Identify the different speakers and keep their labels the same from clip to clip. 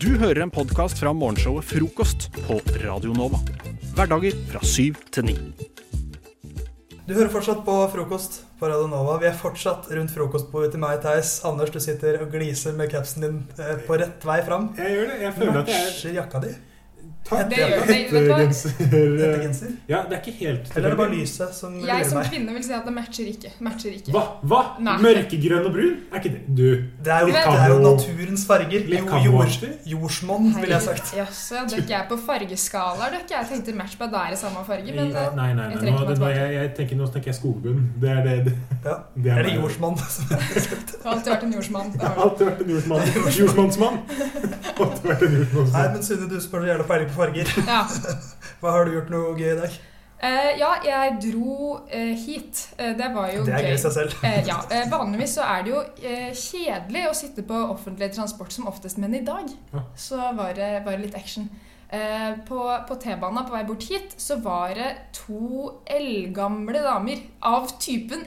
Speaker 1: Du hører en podkast fra morgenshowet Frokost på Radio Nova. Hverdager fra syv til ni.
Speaker 2: Du hører fortsatt på frokost på Radio Nova. Vi er fortsatt rundt frokostbordet til meg, Theis. Anders, du sitter og gliser med capsen din eh, på rett vei fram.
Speaker 3: Jeg gjør det. Jeg
Speaker 2: Du
Speaker 3: føler at jeg er
Speaker 2: matcher jakka di.
Speaker 3: Takk.
Speaker 2: Det
Speaker 4: gjør det. Vet du hva?
Speaker 2: Dette
Speaker 3: Hettegenser
Speaker 2: genser.
Speaker 3: Ja, det er ikke helt
Speaker 2: Eller er det bare lyset som
Speaker 4: Jeg
Speaker 2: lurer
Speaker 4: som
Speaker 2: meg?
Speaker 4: kvinne vil si at det matcher ikke. Matcher ikke.
Speaker 3: Hva? Hva?
Speaker 4: Nei.
Speaker 3: Mørkegrønn og brun? Er ikke det Du.
Speaker 2: Det er jo,
Speaker 4: Litt
Speaker 2: det er jo
Speaker 3: kamo-
Speaker 2: naturens farger.
Speaker 3: litt
Speaker 2: Jo, jord,
Speaker 3: kamoaktig.
Speaker 2: jordsmonn, ville jeg sagt.
Speaker 4: Jaså, det er ikke jeg på fargeskalaer. det er ikke Jeg Jeg tenkte match på at det er i samme farge,
Speaker 3: Nei,
Speaker 4: men eh,
Speaker 3: nei, nei.
Speaker 4: jeg
Speaker 3: Nå,
Speaker 4: trekker
Speaker 3: det,
Speaker 4: meg
Speaker 3: nå,
Speaker 4: tilbake.
Speaker 3: jeg, jeg tenker, nå snakker jeg skogbunn. Det er det, det,
Speaker 2: Ja.
Speaker 3: det
Speaker 2: Er det
Speaker 3: meg.
Speaker 2: jordsmonn? som-
Speaker 4: Jeg har alltid vært en jordsmann. Det
Speaker 3: Jeg har
Speaker 4: har du.
Speaker 3: alltid vært en jordsmann.
Speaker 4: Altså,
Speaker 3: Jordsmannsmann. Alltid vært en
Speaker 2: Nei,
Speaker 3: jordsmannsmann.
Speaker 2: men Sunne, du spør så jævla peiling på farger.
Speaker 4: Ja.
Speaker 2: Hva har du gjort noe gøy i dag?
Speaker 4: Eh, ja, jeg dro eh, hit. Eh, det var jo
Speaker 2: Det er gøy i
Speaker 4: gøy.
Speaker 2: seg selv.
Speaker 4: Eh, ja, eh, Vanligvis så er det jo eh, kjedelig å sitte på offentlig transport som oftest, men i dag
Speaker 3: Ja.
Speaker 4: så var det, var det litt action. Eh, på på T-banen på vei bort hit så var det to eldgamle damer av typen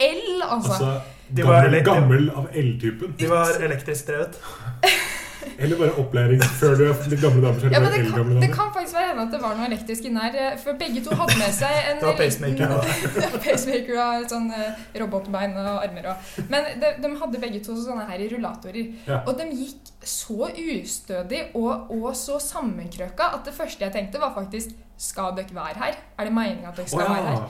Speaker 4: L, altså.
Speaker 3: Altså,
Speaker 2: De var
Speaker 3: gammel,
Speaker 2: litt-
Speaker 3: gammel av L-typen.
Speaker 2: De var elektrisk drevet.
Speaker 3: Eller bare opplæring før du er litt gamle damer. Så er
Speaker 4: ja,
Speaker 3: det
Speaker 4: men
Speaker 3: bare
Speaker 4: det,
Speaker 3: eldgamle
Speaker 4: kan, det
Speaker 3: damer.
Speaker 4: kan faktisk være hende at det var noe elektrisk inne her. eh, For begge to hadde med seg en
Speaker 2: Det var pacemaker.
Speaker 4: liten-
Speaker 2: da.
Speaker 4: pacemaker og et sånn eh, robotbein og armer og Men de, de hadde begge to sånne her rullatorer.
Speaker 3: Ja.
Speaker 4: Og de gikk så ustødig og, og så sammenkrøka at det første jeg tenkte, var faktisk Skal dere være her? Er det meninga at dere skal
Speaker 3: Å, ja.
Speaker 4: være her?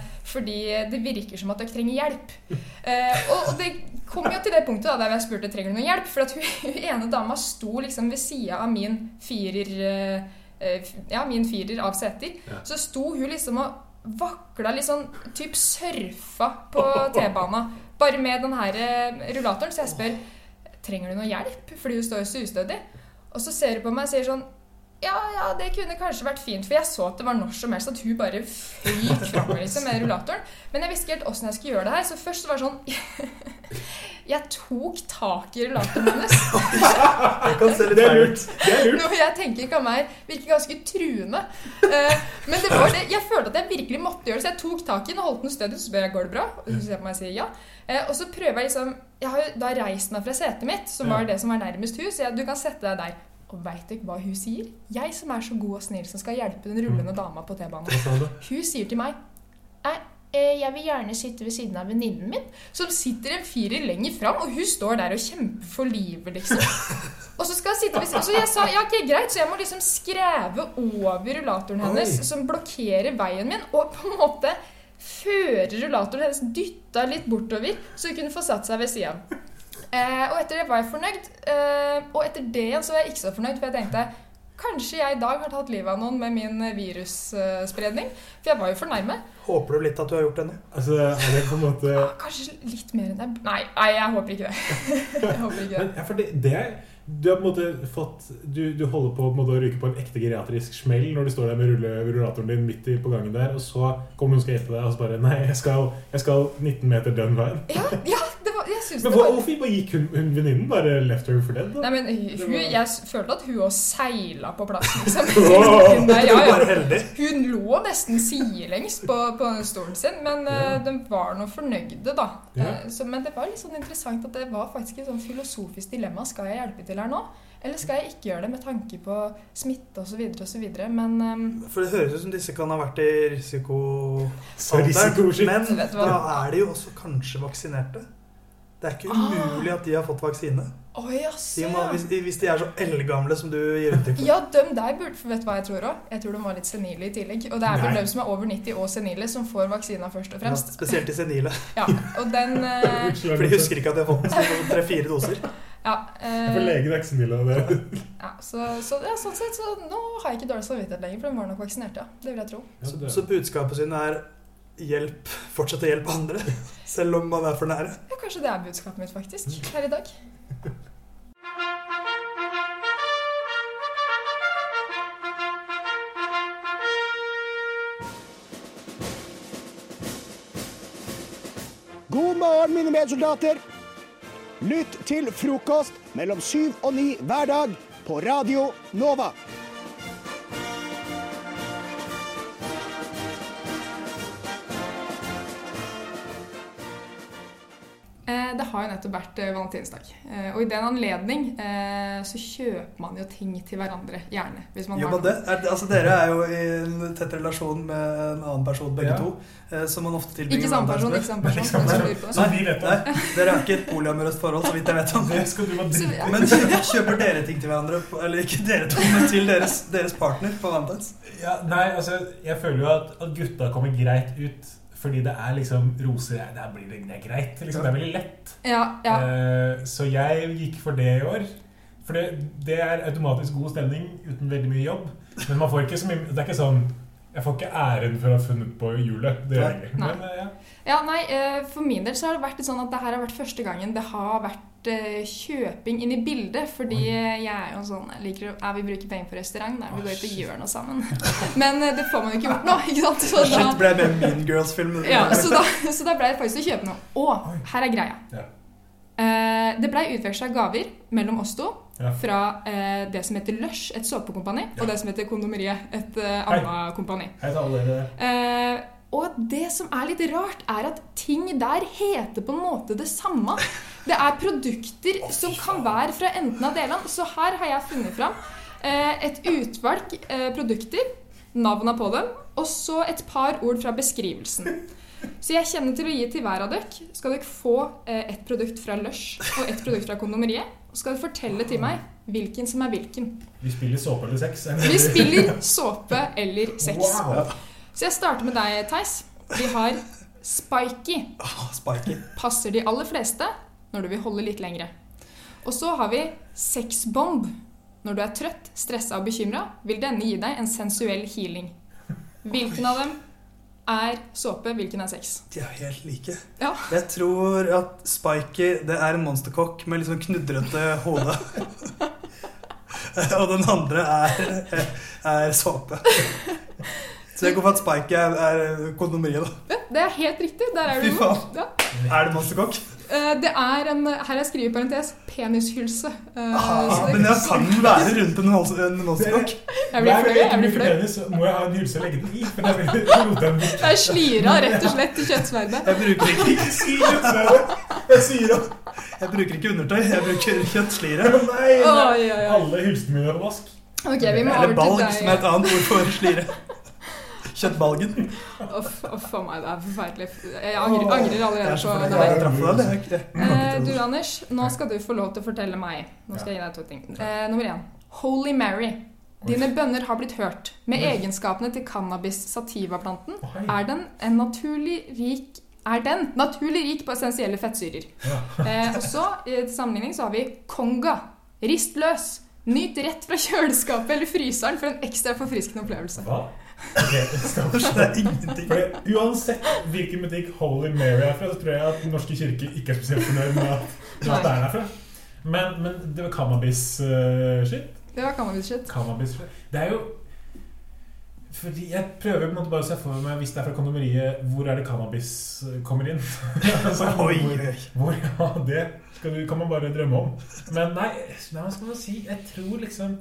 Speaker 4: Eh, fordi det virker som at dere trenger hjelp. Eh, og, og det kom jo til det punktet da, der jeg spurte trenger du noe hjelp. For at hun, hun ene dama sto liksom ved sida av min firer eh, eh, f- Ja, min firer av seter.
Speaker 3: Ja.
Speaker 4: Så sto hun liksom og vakla litt sånn typ surfa på T-bana. Bare med den her eh, rullatoren. Så jeg spør trenger du noe hjelp, fordi hun står jo så ustødig. Og så ser hun på meg og sier sånn ja, ja, det kunne kanskje vært fint, for jeg så at det var når som helst at hun bare fløy framover liksom, med rullatoren. Men jeg visste ikke helt åssen jeg skulle gjøre det her, så først var det sånn Jeg tok tak i rullatoren hennes,
Speaker 2: Jeg kan se litt
Speaker 3: Det er
Speaker 2: feil ut.
Speaker 3: lurt. Det er lurt.
Speaker 4: noe jeg tenker kan meg virke ganske truende. Eh, men det var det, jeg følte at jeg virkelig måtte gjøre det, så jeg tok tak i den og holdt den stødig. Så spør jeg går det bra, og så ser jeg på meg og sier ja. Eh, og så prøver jeg liksom Jeg har jo da reist meg fra setet mitt, som var det som var nærmest hus. Jeg, du kan sette deg der. Og veit dere hva hun sier? Jeg som er så god og snill som skal hjelpe den rullende dama på T-banen.
Speaker 3: Hva sa du?
Speaker 4: Hun sier til meg Nei, eh, jeg vil gjerne sitte ved siden av venninnen min, som sitter en firer lenger fram, og hun står der og kjemper for livet, liksom. Og så skal jeg sitte ved siden Så jeg sa ja, ok, greit, så jeg må liksom skreve over rullatoren hennes,
Speaker 3: Oi.
Speaker 4: som blokkerer veien min, og på en måte føre rullatoren hennes dytta litt bortover, så hun kunne få satt seg ved sida. Eh, og etter det var jeg fornøyd. Eh, og etter det igjen så var jeg ikke så fornøyd, for jeg tenkte Kanskje jeg i dag har tatt livet av noen med min virusspredning? For jeg var jo for nærme.
Speaker 2: Håper du litt at du har gjort det nå?
Speaker 3: Altså, er det på en måte
Speaker 4: Ah, kanskje litt mer enn jeg Nei, nei jeg håper ikke det. jeg håper ikke det.
Speaker 3: Men, ja, for det, det er, du har på en måte fått du, du holder på, på en måte, å ryke på en ekte geriatrisk smell når du står der med rulle, rullatoren din midt i, på gangen der, og så kommer noen og skal hjelpe deg, og så bare Nei, jeg skal, jeg skal 19 meter den veien.
Speaker 4: Ja, ja Ah, det var, jeg syns
Speaker 3: Men
Speaker 4: det
Speaker 3: hvor,
Speaker 4: var
Speaker 3: hvorfor bare gikk hun, hun venninnen bare left her for dead?
Speaker 4: Nei,
Speaker 3: da?
Speaker 4: men hun, Jeg s- følte at hun òg seila på plass, liksom.
Speaker 3: Wow.
Speaker 4: Hun der,
Speaker 2: Du
Speaker 4: ja,
Speaker 2: er bare
Speaker 4: ja.
Speaker 2: heldig.
Speaker 4: Hun lå nesten sidelengs på, på den stolen sin, men eh, de var nå fornøyde, da.
Speaker 3: Ja.
Speaker 4: Eh, Så, men det var litt sånn interessant at det var faktisk et sånn filosofisk dilemma. Skal jeg hjelpe til her nå, eller skal jeg ikke gjøre det med tanke på smitte osv. osv.? Men eh,
Speaker 2: For det høres ut som disse kan ha vært i risiko...
Speaker 3: Så risikoskytt.
Speaker 2: Men
Speaker 4: Vet du hva?
Speaker 2: da er de jo også kanskje vaksinerte. Det er ikke umulig at de har fått vaksine.
Speaker 4: å Ah. ja,
Speaker 2: De må, hvis,
Speaker 4: søren!
Speaker 2: hvis de er så eldgamle som du gir uttrykk for.
Speaker 4: Ja, dem der burde for Vet du hva jeg tror òg? Jeg tror de var litt senile i tillegg. Og det er vel
Speaker 3: Nei.
Speaker 4: dem som er over 90 og senile, som får vaksina først og
Speaker 2: Ja,
Speaker 4: fremst.
Speaker 2: spesielt de senile.
Speaker 4: Ja, og den eh,
Speaker 3: Unnskyld,
Speaker 2: For de
Speaker 3: jeg
Speaker 2: husker ikke at de har fått den, så de får tre-fire doser.
Speaker 4: Ja.
Speaker 3: For
Speaker 4: Eh,
Speaker 3: legen er ikke så snill av det.
Speaker 4: ja, så, så, ja sånn sett, så nå har jeg ikke dårlig samvittighet lenger, for den var nok vaksinert, ja. Det vil jeg tro.
Speaker 2: Så, så budskapet sin er hjelp, fortsett å hjelpe andre. Selv om man er for nære.
Speaker 4: Ja, kanskje det er budskapet mitt, faktisk, her i dag.
Speaker 5: God morgen, mine medsoldater. Lytt til frokost mellom syv og ni hver dag på Radio Nova.
Speaker 4: Eh, det har jo nettopp vært eh, valentinsdag. Eh, Og i den anledning eh, så kjøper man jo ting til hverandre, gjerne. Hvis man
Speaker 2: Jo,
Speaker 4: har
Speaker 2: men det, er, altså Dere er jo i en tett relasjon med en annen person, begge
Speaker 3: Ja.
Speaker 2: to. eh, Som man ofte tilbringer
Speaker 4: Ikke samme person,
Speaker 2: hverandres
Speaker 4: ikke samme person.
Speaker 3: Ikke samme
Speaker 4: men som lurer på det.
Speaker 3: Så vi vet
Speaker 2: med.
Speaker 3: det.
Speaker 2: Nei, dere er ikke i et polyamorøst forhold, så vidt jeg vet om.
Speaker 3: Det skal du bare
Speaker 4: Så-
Speaker 3: drite i.
Speaker 2: Men kjøper, kjøper dere ting til hverandre? på- Eller ikke dere to, men til deres, deres partner på Valentine's?
Speaker 3: Ja, nei, altså, jeg føler jo at, at gutta kommer greit ut. Fordi det er liksom roser Det er, blir det, det er greit. Liksom, det er veldig lett.
Speaker 4: Ja, ja.
Speaker 3: Eh, så jeg gikk for det i år. For det, det er automatisk god stemning uten veldig mye jobb. Men man får ikke så mye Det er ikke sånn Jeg får ikke æren for å ha funnet på hjulet. Det gjør jeg ikke.
Speaker 4: Nei.
Speaker 3: Men, eh, ja.
Speaker 4: ja, nei, eh, for min del så har det vært litt sånn at det her har vært første gangen det har vært eh, kjøping inn i bildet. Fordi
Speaker 3: Oi.
Speaker 4: eh, jeg er jo en sånn jeg liker å jeg vil bruke penger på restaurant, der vi
Speaker 3: Å,
Speaker 4: går ut og
Speaker 3: shit.
Speaker 4: gjør noe sammen. Men eh, det får man jo ikke gjort nå, ikke sant? Så da,
Speaker 2: Shit, ble jeg med i Mean Girls-filmen?
Speaker 4: ja, så, da, så da ble det faktisk å kjøpe noe. Og her er greia.
Speaker 3: Ja.
Speaker 4: Eh, det blei utveksla gaver mellom oss to
Speaker 3: Ja.
Speaker 4: fra eh, det som heter Lush, et såpekompani, og det som heter Kondomeriet, et eh,
Speaker 3: Hei.
Speaker 4: annet kompani.
Speaker 3: Hei til alle dere.
Speaker 4: Eh, og det som er litt rart, er at ting der heter på en måte det samme. Det er produkter som kan være fra enten av delene. Så her har jeg funnet fram eh, et utvalg eh, produkter, navnene på dem, og så et par ord fra beskrivelsen. Så jeg kjenner til å gi til hver av dere. Skal dere få eh, et produkt fra Lush og et produkt fra Kondomeriet, og skal dere fortelle til meg hvilken som er hvilken.
Speaker 3: Vi spiller såpe eller sex. eller?
Speaker 4: Vi spiller såpe eller sex.
Speaker 3: Wow.
Speaker 4: Så jeg starter med deg, Theis. Vi har spiky.
Speaker 2: Åh, Spiky.
Speaker 4: Passer de aller fleste når du vil holde litt lengre. Og så har vi sexbomb. Når du er trøtt, stressa og bekymra, vil denne gi deg en sensuell healing. Hvilken av dem er såpe, hvilken er sex?
Speaker 2: De er jo helt like.
Speaker 4: Ja.
Speaker 2: Jeg tror at Spiky det er en monsterkokk med litt sånn knudrete hode. Og den andre er, er såpe. Så jeg går for at Spiky er, er kondomeriet, da.
Speaker 4: Ja, Det er helt riktig. Der er
Speaker 2: Fy
Speaker 4: du.
Speaker 2: faen.
Speaker 4: Ja.
Speaker 2: Er det monsterkokk?
Speaker 4: Eh, Det er en Her har jeg skrevet i parentes penishylse. Eh,
Speaker 2: Ah,
Speaker 4: så det-
Speaker 2: men jeg kan være rundt en mons- en monsterkokk.
Speaker 4: Jeg blir flau. Jeg blir
Speaker 3: bruker
Speaker 4: flau.
Speaker 3: penis, så må jeg ha en hylse å legge den i. For da blir det roter den
Speaker 4: Det er slira, rett og slett, i kjøttsverdet.
Speaker 2: Jeg bruker ikke,
Speaker 3: Ikke si det! Jeg sier opp.
Speaker 2: jeg bruker ikke undertøy, jeg bruker kjøttslire.
Speaker 3: Å, Nei! nei.
Speaker 4: Oi, oi, oi.
Speaker 3: Alle hylsene mine er på vask.
Speaker 4: Ok, vi må
Speaker 2: Eller
Speaker 4: over til
Speaker 2: balg,
Speaker 4: deg.
Speaker 2: som er et annet ord for slire. Kjøttbalgen.
Speaker 4: Uff uff, a meg, det er forferdelig. Jeg angrer, angrer
Speaker 2: Jeg
Speaker 4: allerede
Speaker 2: er så
Speaker 4: på
Speaker 2: fornøyd
Speaker 4: det
Speaker 2: med at
Speaker 4: her.
Speaker 2: jeg traff deg. det er ikke det.
Speaker 4: Eh, du, Anders, nå skal du få lov til å fortelle meg. Nå skal jeg gi deg to ting. Eh, nummer én. Holy Mary. Dine bønner har blitt hørt. Med
Speaker 3: Oi.
Speaker 4: egenskapene til cannabis sativa-planten
Speaker 3: Oi.
Speaker 4: er den en naturlig rik er den naturlig rik på essensielle fettsyrer. Eh, og så, eh, til sammenligning, så har vi Konga. Rist løs. Nyt rett fra kjøleskapet eller fryseren for en ekstra forfriskende opplevelse.
Speaker 3: Hva? Ok, stopp.
Speaker 2: Det er ingenting.
Speaker 3: Fordi uansett hvilken butikk Holy Mary er fra, så tror jeg at Den norske kirke ikke er spesielt fornøyd med at med at det er derfra. Men, men det var cannabis-shit.
Speaker 4: Det var cannabis-shit.
Speaker 3: Cannabis Det er jo fordi Jeg prøver på en måte bare å se for meg, hvis det er fra kondomeriet, hvor er det cannabis eh, kommer inn? altså,
Speaker 2: Oi,
Speaker 3: hvor,
Speaker 2: oi.
Speaker 3: hvor, ja, det skal du, kan man bare drømme om. Men nei, nei, hva skal man si? Jeg tror liksom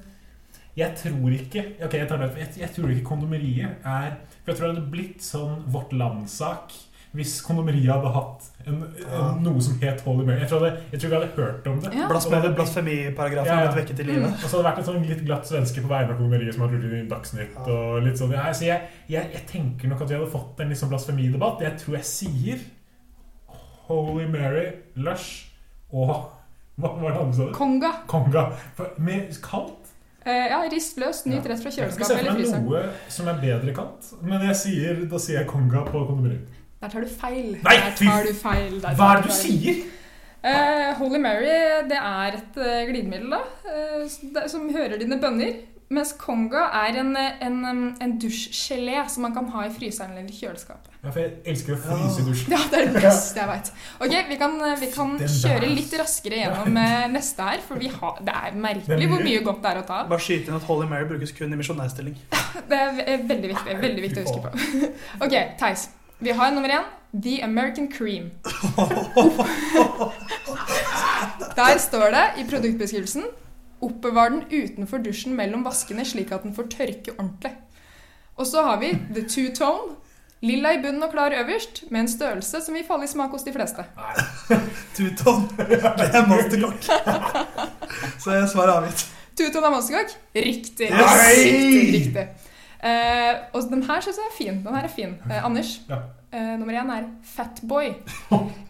Speaker 3: Jeg tror ikke Ok, jeg tar det jeg, jeg tror ikke kondomeriet er For jeg tror det hadde blitt sånn Vårt Land-sak hvis kondomeriet hadde hatt en, en, noe som het Holy Mary. Jeg tror, jeg, jeg tror ikke jeg hadde hørt om det.
Speaker 4: Ja.
Speaker 2: Blasfemi- Blasfemiparagrafen
Speaker 3: Ja,
Speaker 2: har
Speaker 3: ja.
Speaker 2: blitt vekket i livet.
Speaker 3: Og så hadde det vært en sånn litt glatt svenske på vegne av kondomeriet som hadde rullet inn i Dagsnytt. og litt sånn. Ja, så jeg, jeg, jeg tenker nok at vi hadde fått en litt sånn blasfemidebatt. Jeg tror jeg sier Holy Mary, Lush og Hva var det andre sa? du?
Speaker 4: Konga.
Speaker 3: Konga. For, med kaldt?
Speaker 4: Eh, ja, rist løs, nyt rett fra
Speaker 3: Jeg kan ikke se
Speaker 4: kjøleskapet
Speaker 3: for
Speaker 4: eller
Speaker 3: meg
Speaker 4: fryseren.
Speaker 3: noe som er bedre kaldt, men jeg sier, da sier jeg Konga på kondomeriet.
Speaker 4: Der tar du feil.
Speaker 3: Nei,
Speaker 4: Der
Speaker 3: fy-
Speaker 4: tar du feil. Der
Speaker 3: Hva er
Speaker 4: tar
Speaker 3: det du
Speaker 4: feil.
Speaker 3: sier?!
Speaker 4: Eh, Holy Mary, det er et eh, glidemiddel, da. eh, s- det- som hører dine bønner. Mens Konga er en, eh, en, em, en dusjgelé som man kan ha i fryseren eller kjøleskapet.
Speaker 3: Ja, for jeg elsker å fryse i dusjen.
Speaker 4: Ja, det er det beste jeg veit. Ok, vi kan, eh, vi kan
Speaker 3: Den der.
Speaker 4: kjøre litt raskere gjennom eh, neste her, for vi har, det er merkelig hvor mye godt det er å ta av.
Speaker 2: Bare skyte inn at Holy Mary brukes kun i misjonærstilling.
Speaker 4: Det er ve- eh, veldig viktig, veldig viktig å huske på. Ok, Theis. Vi har nummer én The American Cream. Der står det i produktbeskrivelsen Oppbevar den utenfor dusjen mellom vaskene slik at den får tørke ordentlig. Og så har vi The Two Tone. Lilla i bunnen og klar øverst, med en størrelse som vil falle i smak hos de fleste.
Speaker 2: Tuton. Det er monsterkokk. Så jeg svarer avgitt.
Speaker 4: Tuton er monsterkokk? Riktig.
Speaker 2: Yes!
Speaker 4: Riktig, riktig. Eh, og den her syns jeg er fin. Den her er fin. Eh, Anders,
Speaker 3: Ja.
Speaker 4: eh, nummer én er Fatboy.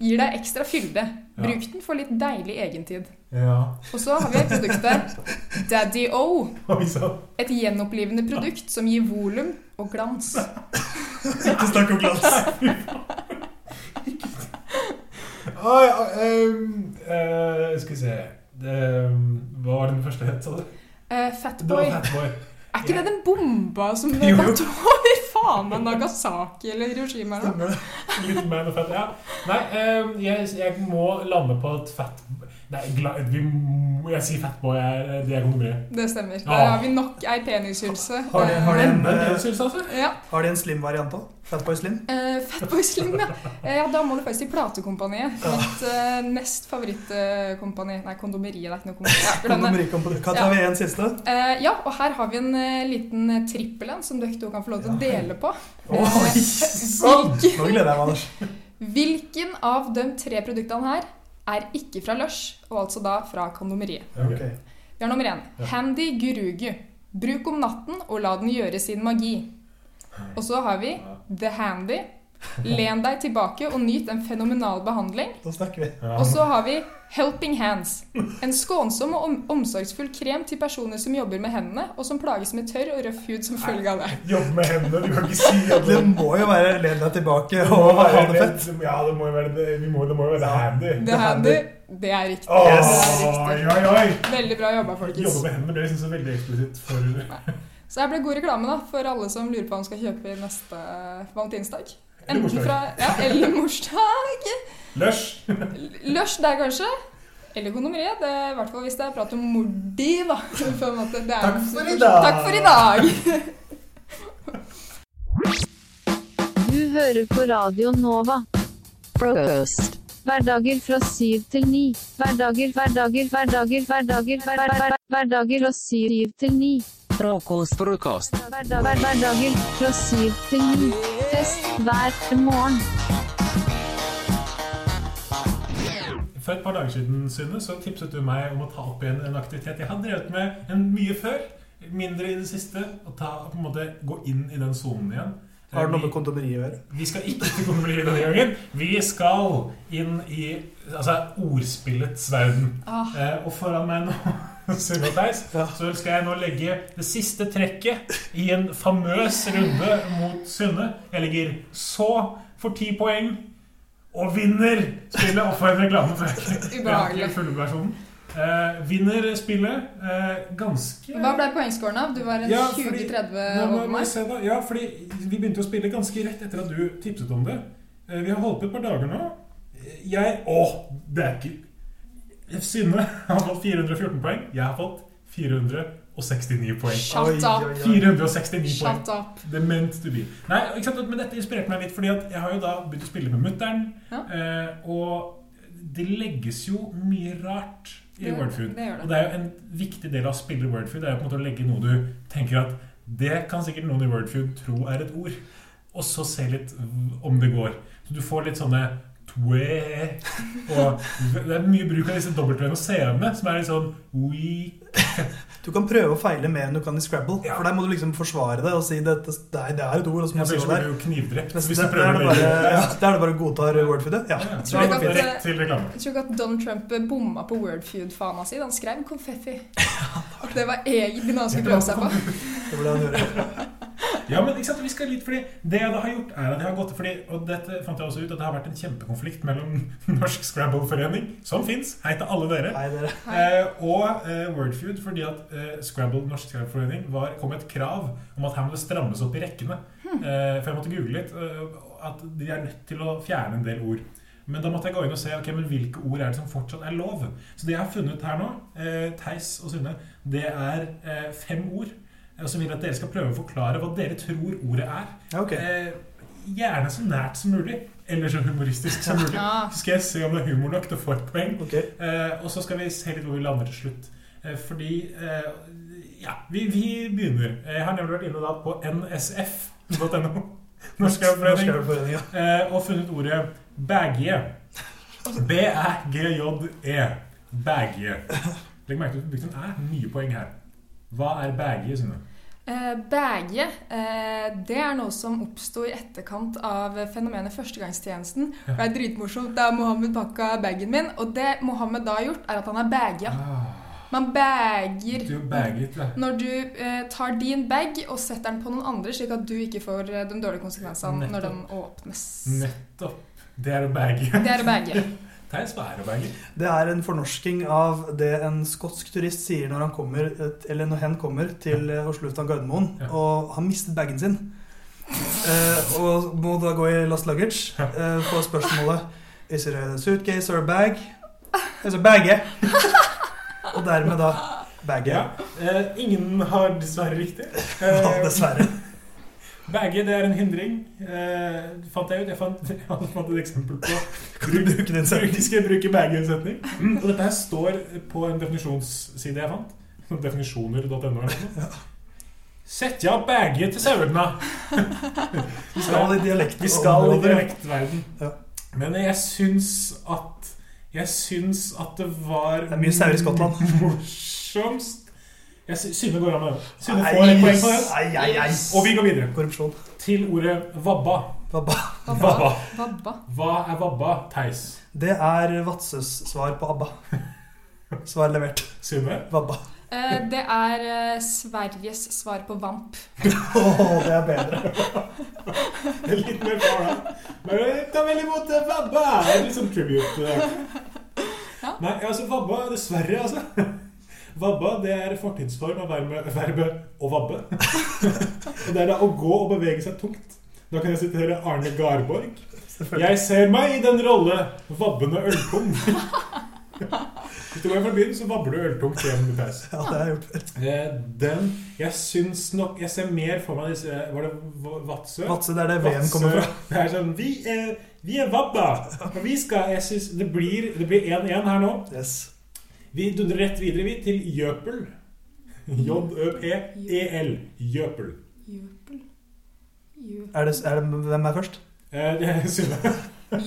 Speaker 4: Gir deg ekstra fylde. Bruk den for litt deilig egentid.
Speaker 3: Ja.
Speaker 4: Og så har vi produktet Daddy O.
Speaker 3: Oi sann.
Speaker 4: Et gjenopplivende produkt som gir volum og glans.
Speaker 2: Ikke snakk om glans.
Speaker 3: Ah, ja, ehm, eh, skal vi se Ehm, Hva var den første het, sa du?
Speaker 4: Eh,
Speaker 3: Det var
Speaker 4: Fatboy.
Speaker 3: Fatboy.
Speaker 4: Er ikke det den bomba som
Speaker 2: Jo.
Speaker 4: datt over faen meg Nagasaki eller Hiroshima? Eller?
Speaker 2: Stemmer
Speaker 4: noe?
Speaker 2: det.
Speaker 3: Litt mer enn fett, ja. Nei, ehm, jeg, jeg må lande på at fat... Nei, gla, vi, må- jeg sier Fatboy er det jeg kommer til.
Speaker 4: Det stemmer. Der
Speaker 3: Ja.
Speaker 4: har vi nok ei penishylse.
Speaker 2: Har de, har de en,
Speaker 3: Men
Speaker 2: eh,
Speaker 3: jeg synes altså
Speaker 4: Ja.
Speaker 2: har de en slim-variant òg? Fatboy Slim?
Speaker 4: Eh, Fatboy Slim, ja. Eh, ja. Da må du faktisk til Platekompaniet. Mitt eh, nest favorittkompani. Nei, Kondomeriet. Det er ikke noe kompani. Ja, glem det.
Speaker 2: Kondomerikom på Kan tar vi en siste?
Speaker 4: Eh, ja, og her har vi en eh, liten eh, trippel en som dere to kan få lov til å dele på. Eh,
Speaker 2: Oi, sann! Nå gleder jeg meg, Anders.
Speaker 4: Hvilken av de tre produktene her er ikke fra Lush, og altså da fra Kondomeriet?
Speaker 3: Ok.
Speaker 4: Vi har nummer én. Handy Gurugu. Bruk om natten og la den gjøre sin magi. Og så har vi The Handy. Len deg tilbake og nyt en fenomenal behandling.
Speaker 2: Da snakker vi.
Speaker 4: Og så har vi Helping Hands. En skånsom og om omsorgsfull krem til personer som jobber med hendene, og som plages med tørr og røff hud som følge av det.
Speaker 3: Jobbe med hendene, du kan ikke si at
Speaker 2: Det må jo være len deg tilbake og ha det fett.
Speaker 3: Ja, det må jo være det. Vi må, det må jo være handy.
Speaker 4: The Handy, det er riktig.
Speaker 3: Åh,
Speaker 4: Det er
Speaker 3: Oi,
Speaker 4: riktig.
Speaker 3: oi, oi!
Speaker 4: Veldig bra jobba, folkens.
Speaker 3: Jobbe med hendene ble liksom så veldig eksplisitt for
Speaker 4: Så her ble god reklame da, for alle som lurer på hva de skal kjøpe i neste eh, valentinsdag.
Speaker 3: Eller
Speaker 4: Enten
Speaker 3: morsdag.
Speaker 4: fra ja, eller morsdag.
Speaker 3: Lush.
Speaker 4: Lush der, kanskje. Eller kondomeriet. Det er i hvert fall hvis det er prat om mordi, da. På en måte. Det er,
Speaker 2: Takk for i dag.
Speaker 4: Takk for i dag.
Speaker 6: Du hører på Radio Nova. Frokost. Hverdager fra syv til ni. Hverdager, hverdager, hverdager, hverdager, hver- hver- hver- hverdager fra syv til ni.
Speaker 7: Frokost, frokost.
Speaker 6: Hverdag- hver- Hverdager fra syv til ni. Fest hver morgen.
Speaker 3: For et par dager siden Synne, så tipset du meg om å ta opp igjen en aktivitet jeg har drevet med en mye før. Mindre i det siste. Og ta, på en måte, gå inn i den sonen igjen.
Speaker 2: Har det noe med
Speaker 3: vi,
Speaker 2: kondomeriet å gjøre?
Speaker 3: vi skal ikke til kondomeriet denne gangen. Vi skal inn i altså, ordspillets verden.
Speaker 4: Ah.
Speaker 3: Eh, og foran meg nå, Synne og Theis,
Speaker 2: Ja.
Speaker 3: så skal jeg nå legge det siste trekket i en famøs runde mot Synne. Jeg ligger så for ti poeng. Og vinner spillet! Og for en reklame! for jeg har ikke
Speaker 4: Ubehagelig.
Speaker 3: fulle versjonen. Eh, vinner spillet eh, ganske
Speaker 4: Hva ble poengscoren av? Du var en
Speaker 3: Ja, fordi-
Speaker 4: 20-30
Speaker 3: Nå må-
Speaker 4: over
Speaker 3: må jeg
Speaker 4: meg.
Speaker 3: se da. Ja, fordi vi begynte å spille ganske rett etter at du tipset om det. Eh, Vi har holdt på et par dager nå. Eh, Jeg Å, det er ikke Synne har fått 414 poeng. Jeg har fått 469 poeng.
Speaker 4: Shut
Speaker 2: Oi,
Speaker 4: up.
Speaker 2: oi, oi.
Speaker 3: 469 poeng.
Speaker 4: Shut up.
Speaker 3: The meant to be. Nei, ikke sant? Men dette inspirerte meg litt, fordi at jeg har jo da begynt å spille med mutter'n.
Speaker 4: Ja.
Speaker 3: Eh, og det legges jo mye rart i
Speaker 4: Det-
Speaker 3: Wordfood.
Speaker 4: det gjør det.
Speaker 3: Og det er jo en viktig del av å spille Wordfood. Det er jo på en måte å legge noe du tenker at det kan sikkert noen i Wordfood tro er et ord. Og så se litt om det går. Så du får litt sånne twe og Det er mye bruk av disse W-ene og C-ene, som er litt sånn weak
Speaker 2: Du kan prøve å feile mer enn du kan i Scrabble.
Speaker 3: Ja.
Speaker 2: For der må du liksom forsvare det og si at det, det er det er et ord. Og så må
Speaker 3: Ja,
Speaker 2: du
Speaker 3: så
Speaker 2: stå
Speaker 3: blir
Speaker 2: der.
Speaker 3: du jo knivdrept
Speaker 2: sånn Nesten,
Speaker 3: hvis
Speaker 2: det, det
Speaker 3: du
Speaker 2: er
Speaker 3: prøver
Speaker 2: det bare,
Speaker 3: å legge
Speaker 2: ja, det er det bare å godta wordfoodet. Ja,
Speaker 3: Ja,
Speaker 2: det går fint.
Speaker 3: Rett til reklame.
Speaker 4: Jeg tror ikke at Donald Trump bomma på Wordfeud-fana si. altså. Han skrev konfetti. Og det var egentlig noe han skulle prøve seg på.
Speaker 2: Det burde han gjøre.
Speaker 3: Ja, men ikke sant, vi skal litt, fordi Det jeg da har gjort, er at jeg har gått fordi, Og dette fant jeg også ut, at det har vært en kjempekonflikt mellom Norsk Scrabble-forening, som fins, hei til alle dere,
Speaker 2: Nei, dere.
Speaker 3: eh, og eh, Wordfeud, fordi at eh, Scrabble, Norsk Scrabble-forening var- kom med et krav om at her må det strammes opp i rekkene. Eh, for jeg måtte google litt. Eh, at de er nødt til å fjerne en del ord. Men da måtte jeg gå inn og se ok, men hvilke ord er det som fortsatt er lov. Så det jeg har funnet her nå, eh, Theis og Sunne, det er eh, fem ord. eh, som vil at dere skal prøve å forklare hva dere tror ordet er.
Speaker 2: Ja, ok.
Speaker 3: Eh, gjerne så nært som mulig. Eller så humoristisk som mulig.
Speaker 4: Ja.
Speaker 3: Så skal jeg se om det er humor nok til å få et poeng.
Speaker 2: Ok.
Speaker 3: Eh, og så skal vi se litt hvor vi lander til slutt. Eh, fordi eh, Ja, vi, vi begynner. Jeg har nemlig vært inne da på nsf.no. Norsk Jernforening.
Speaker 2: Jernforening, ja.
Speaker 3: eh, og funnet ordet bagge. B-æ-g-j-e. Bagge. E. Legg merke til at du brukte en æ. Mye poeng her. Hva er bagge, Synne?
Speaker 4: Eh, Bæge, eh, det er noe som oppsto i etterkant av fenomenet førstegangstjenesten. Det er dritmorsomt. Da Mohammed pakka bagen min, og det Mohammed da har gjort, er at han har baga. Man bager
Speaker 3: Du bager litt, da.
Speaker 4: når du eh, tar din bag og setter den på noen andre, slik at du ikke får eh, de dårlige konsekvensene når den åpnes.
Speaker 3: Nettopp. Det er å bagge.
Speaker 4: Det er å bage.
Speaker 3: Theis, hva er å bagge?
Speaker 2: Det er en fornorsking av det en skotsk turist sier når han kommer, eller når hen kommer til eh, Oslo lufthavn Gardermoen
Speaker 3: Ja.
Speaker 2: og har mistet bagen sin. Eh, og må da gå i last luggage eh, på spørsmålet Is it a suitcase or a bag? Altså bagge. Og dermed da bagge.
Speaker 3: Ja. Eh, ingen har dessverre riktig.
Speaker 2: Ja,
Speaker 3: Eh,
Speaker 2: Dessverre.
Speaker 3: Bagge, det er en hindring. Eh, fant jeg ut. Jeg fant, jeg fant et eksempel på
Speaker 2: Kan du bruke den selv?
Speaker 3: bruk, Skal jeg bruke bagge i en setning? Mm. Og dette her står på en definisjonsside jeg fant. Sånn Definisjoner.no. eller noe. Sett ja bagge til sauene!
Speaker 2: Vi skal i dialekt.
Speaker 3: Vi skal i
Speaker 2: og-
Speaker 3: direktverden.
Speaker 2: Ja.
Speaker 3: Men jeg syns at Jeg syns at det var
Speaker 2: Det er mye sauer i Skottland.
Speaker 3: Morsomst Jeg sy- Synne går av med den. Synne
Speaker 2: Nei,
Speaker 3: får et poeng
Speaker 2: yes.
Speaker 3: på den.
Speaker 2: Nei, nei, nei.
Speaker 3: Og vi går videre.
Speaker 2: Korrupsjon.
Speaker 3: Til ordet vabba.
Speaker 2: Babba.
Speaker 3: Vabba.
Speaker 4: Babba.
Speaker 3: Hva er vabba, Theis?
Speaker 2: Det er Vadsøs svar på ABBA. Svar levert.
Speaker 3: Synne?
Speaker 2: Babba.
Speaker 4: Eh, det er eh, Sveriges svar på vamp.
Speaker 2: Åh, det er bedre.
Speaker 3: Litt mer far, da. Men eh, ta vel imot eh, vabba! Det er Litt sånn tribute. eh. Nei, altså vabba Dessverre, altså. Vabba det er fortidsform av verbet, verbet å vabbe. og det er da å gå og bevege seg tungt. Da kan jeg sitere Arne Garborg. Jeg ser meg i den rolle vabbende øltung. Hvis du går fra byen, så vabber du øltungt hjem med peis.
Speaker 2: Ja, det har jeg gjort før.
Speaker 3: Eh, Den Jeg syns nok Jeg ser mer for meg disse eh, Var det V- Vadsø?
Speaker 2: Vadsø, det er der VM kommer fra.
Speaker 3: Det er sånn Vi er, vi er vabba! Og vi skal Jeg syns Det blir det blir 1-1 her nå.
Speaker 2: Yes.
Speaker 3: Vi dundrer rett videre, vi, til Jøpel. J-ø-p-e-l. Jøpel.
Speaker 4: Jøpel. Jø-
Speaker 2: Er det, er det, hvem er først?
Speaker 3: Eh, det er Sunne.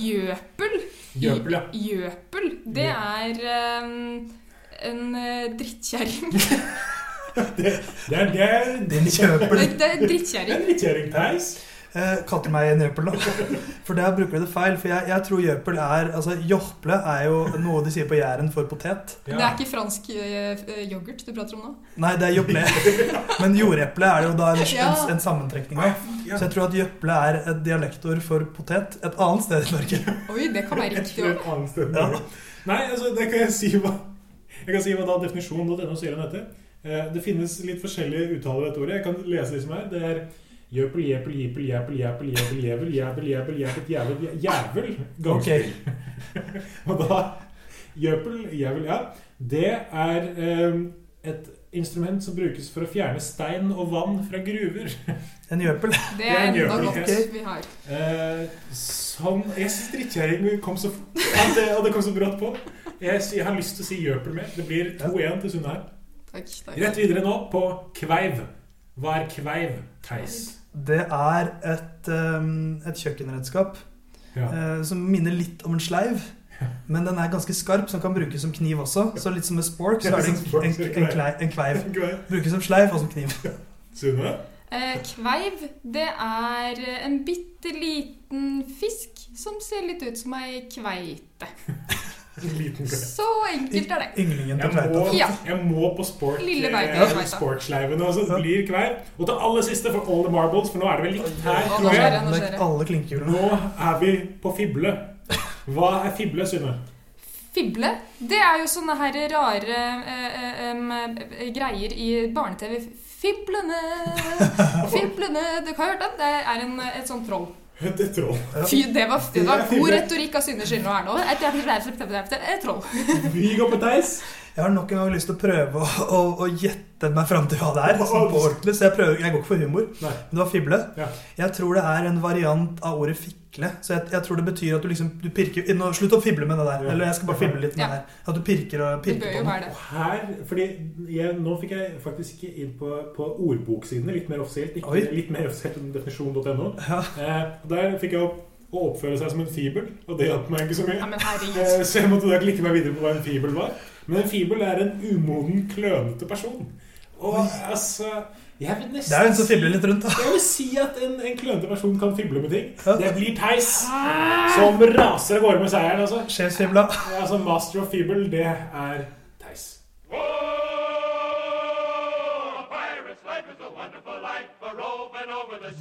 Speaker 4: Jøpel?
Speaker 3: Jøpel, ja.
Speaker 4: Jøpel, det er ehm, en eh, drittkjerring.
Speaker 3: Det er det er-
Speaker 2: Din kjøper.
Speaker 4: Det er en
Speaker 3: det er
Speaker 4: drittkjerring.
Speaker 3: en drittkjerring, Theis.
Speaker 2: Eh, Kalte meg en jøpel, da. For der bruker du det feil. For jeg, jeg tror jøpel er Altså, jåple er jo noe de sier på Jæren for potet.
Speaker 4: Det er ikke fransk eh, eh, yoghurt du prater om nå.
Speaker 2: Nei, det er jåple. Men jordeple er det jo da en, en, en sammentrekning av.
Speaker 3: Ja.
Speaker 2: Så jeg tror at jøple er et dialektord for potet et annet sted i Norge.
Speaker 4: Oi, det kan være riktig
Speaker 3: Det er
Speaker 4: òg.
Speaker 3: et annet sted.
Speaker 2: Ja.
Speaker 3: Nei, altså, det kan jeg si hva Jeg kan si hva da definisjonen.no sier om dette. Eh, Det finnes litt forskjellige uttaler av dette ordet. Jeg kan lese de som er. Det er jøpel, jepel, jipel, jæpel, jæpel, jævel, jævel, jævel, jævel, jæpet, jævel, jæ- jævel.
Speaker 2: Ok.
Speaker 3: Gangspill. Og da Jøpel, jævel, ja. Det er eh, et instrument som brukes for å fjerne stein og vann fra gruver.
Speaker 2: En jøpel.
Speaker 4: Det
Speaker 3: er
Speaker 4: er
Speaker 3: en
Speaker 4: enda
Speaker 3: jøpel,
Speaker 4: godt
Speaker 2: ok.
Speaker 4: vi har.
Speaker 3: Eh, sånn Jeg syns drittkjerring kom så fort. Ja, det, og det kom så brått på. Jeg, sy- jeg har lyst til å si jøpel mer. Det blir 2-1 til Sunne her.
Speaker 4: Takk. takk.
Speaker 3: Rett videre nå på kveiv. Hva er kveiv, Theis?
Speaker 2: Det er et, ehm, et kjøkkenredskap
Speaker 3: Ja.
Speaker 2: eh, som minner litt om en sleiv. Men den er ganske skarp, som kan brukes som kniv også. Så litt som en spork, så er det en, en, en, klei- en kveiv.
Speaker 3: Kveiv.
Speaker 2: Brukes som sleiv og som kniv.
Speaker 3: Sunne?
Speaker 4: Eh, Kveiv, det er eh, en bitte liten fisk som ser litt ut som ei kveite.
Speaker 3: En liten kveiv.
Speaker 4: Så enkelt er det.
Speaker 2: Ynglingen på
Speaker 3: Jeg må,
Speaker 2: kveita.
Speaker 4: Ja.
Speaker 3: jeg må på sport,
Speaker 4: Lille vei til
Speaker 3: eh,
Speaker 4: kveita.
Speaker 3: sportsleiven. Og så blir kveiv. Og til aller siste for all the marbles, for nå er det vel likt her,
Speaker 4: Å, nå
Speaker 3: tror
Speaker 4: skjer
Speaker 3: jeg.
Speaker 4: det, nå skjer det.
Speaker 2: Alle klinkehjulene.
Speaker 3: Nå er vi på fible. Hva er fible, Sunne?
Speaker 4: Fible, det er jo sånne her rare eh, eh, em, eh, greier i barne-TV. Fiblene, fiblene Du kan ha hørt den? Det er en, eh, et sånt troll.
Speaker 3: Et troll.
Speaker 4: Fy, det var, det
Speaker 3: Det
Speaker 4: var
Speaker 3: er
Speaker 4: god
Speaker 3: fible.
Speaker 4: retorikk av Synne Skille nå her nå. Et, et, et, et, et, et troll.
Speaker 3: Vi går på Theis.
Speaker 2: Jeg har nok en gang lyst til å prøve å, å, å gjette meg fram til hva det er. Sånn på ordentlig, så jeg, prøver, jeg går ikke for humor.
Speaker 3: Nei.
Speaker 2: Men det var fible.
Speaker 3: Ja.
Speaker 2: Jeg tror det er en variant av ordet fikle. Så jeg, jeg tror det betyr at du liksom du pirker nå, Slutt å fible med det der.
Speaker 3: Ja.
Speaker 2: Eller jeg skal bare fible litt med
Speaker 4: Ja.
Speaker 2: det her. At du pirker og
Speaker 4: Det
Speaker 2: pirker
Speaker 4: bør
Speaker 2: på
Speaker 4: jo
Speaker 2: den.
Speaker 4: være det.
Speaker 3: Og her, fordi jeg, Nå fikk jeg faktisk ikke inn på, på ordboksiden, litt mer offisielt. Ikke,
Speaker 2: Oi.
Speaker 3: litt mer offisielt enn definisjon.no.
Speaker 2: Ja.
Speaker 3: Eh, der fikk jeg opp å oppføre seg som en fibel, og det hjalp meg ikke så
Speaker 4: Ja,
Speaker 3: mye.
Speaker 4: men herregud.
Speaker 3: Eh, Så jeg måtte da klikke meg videre på hva en fibel var. Men en fibel er en umoden, klønete person. Og altså Jeg vil
Speaker 2: Det er jo
Speaker 3: nesten
Speaker 2: en som fibler litt rundt, da.
Speaker 3: jeg vil si at en, en klønete person kan fible med ting.
Speaker 2: Ja.
Speaker 3: Det blir Theis som raser av gårde med seieren. Altså.
Speaker 2: Sjefsfibla.
Speaker 3: Ja, Altså, Master of Feeble, det er Theis.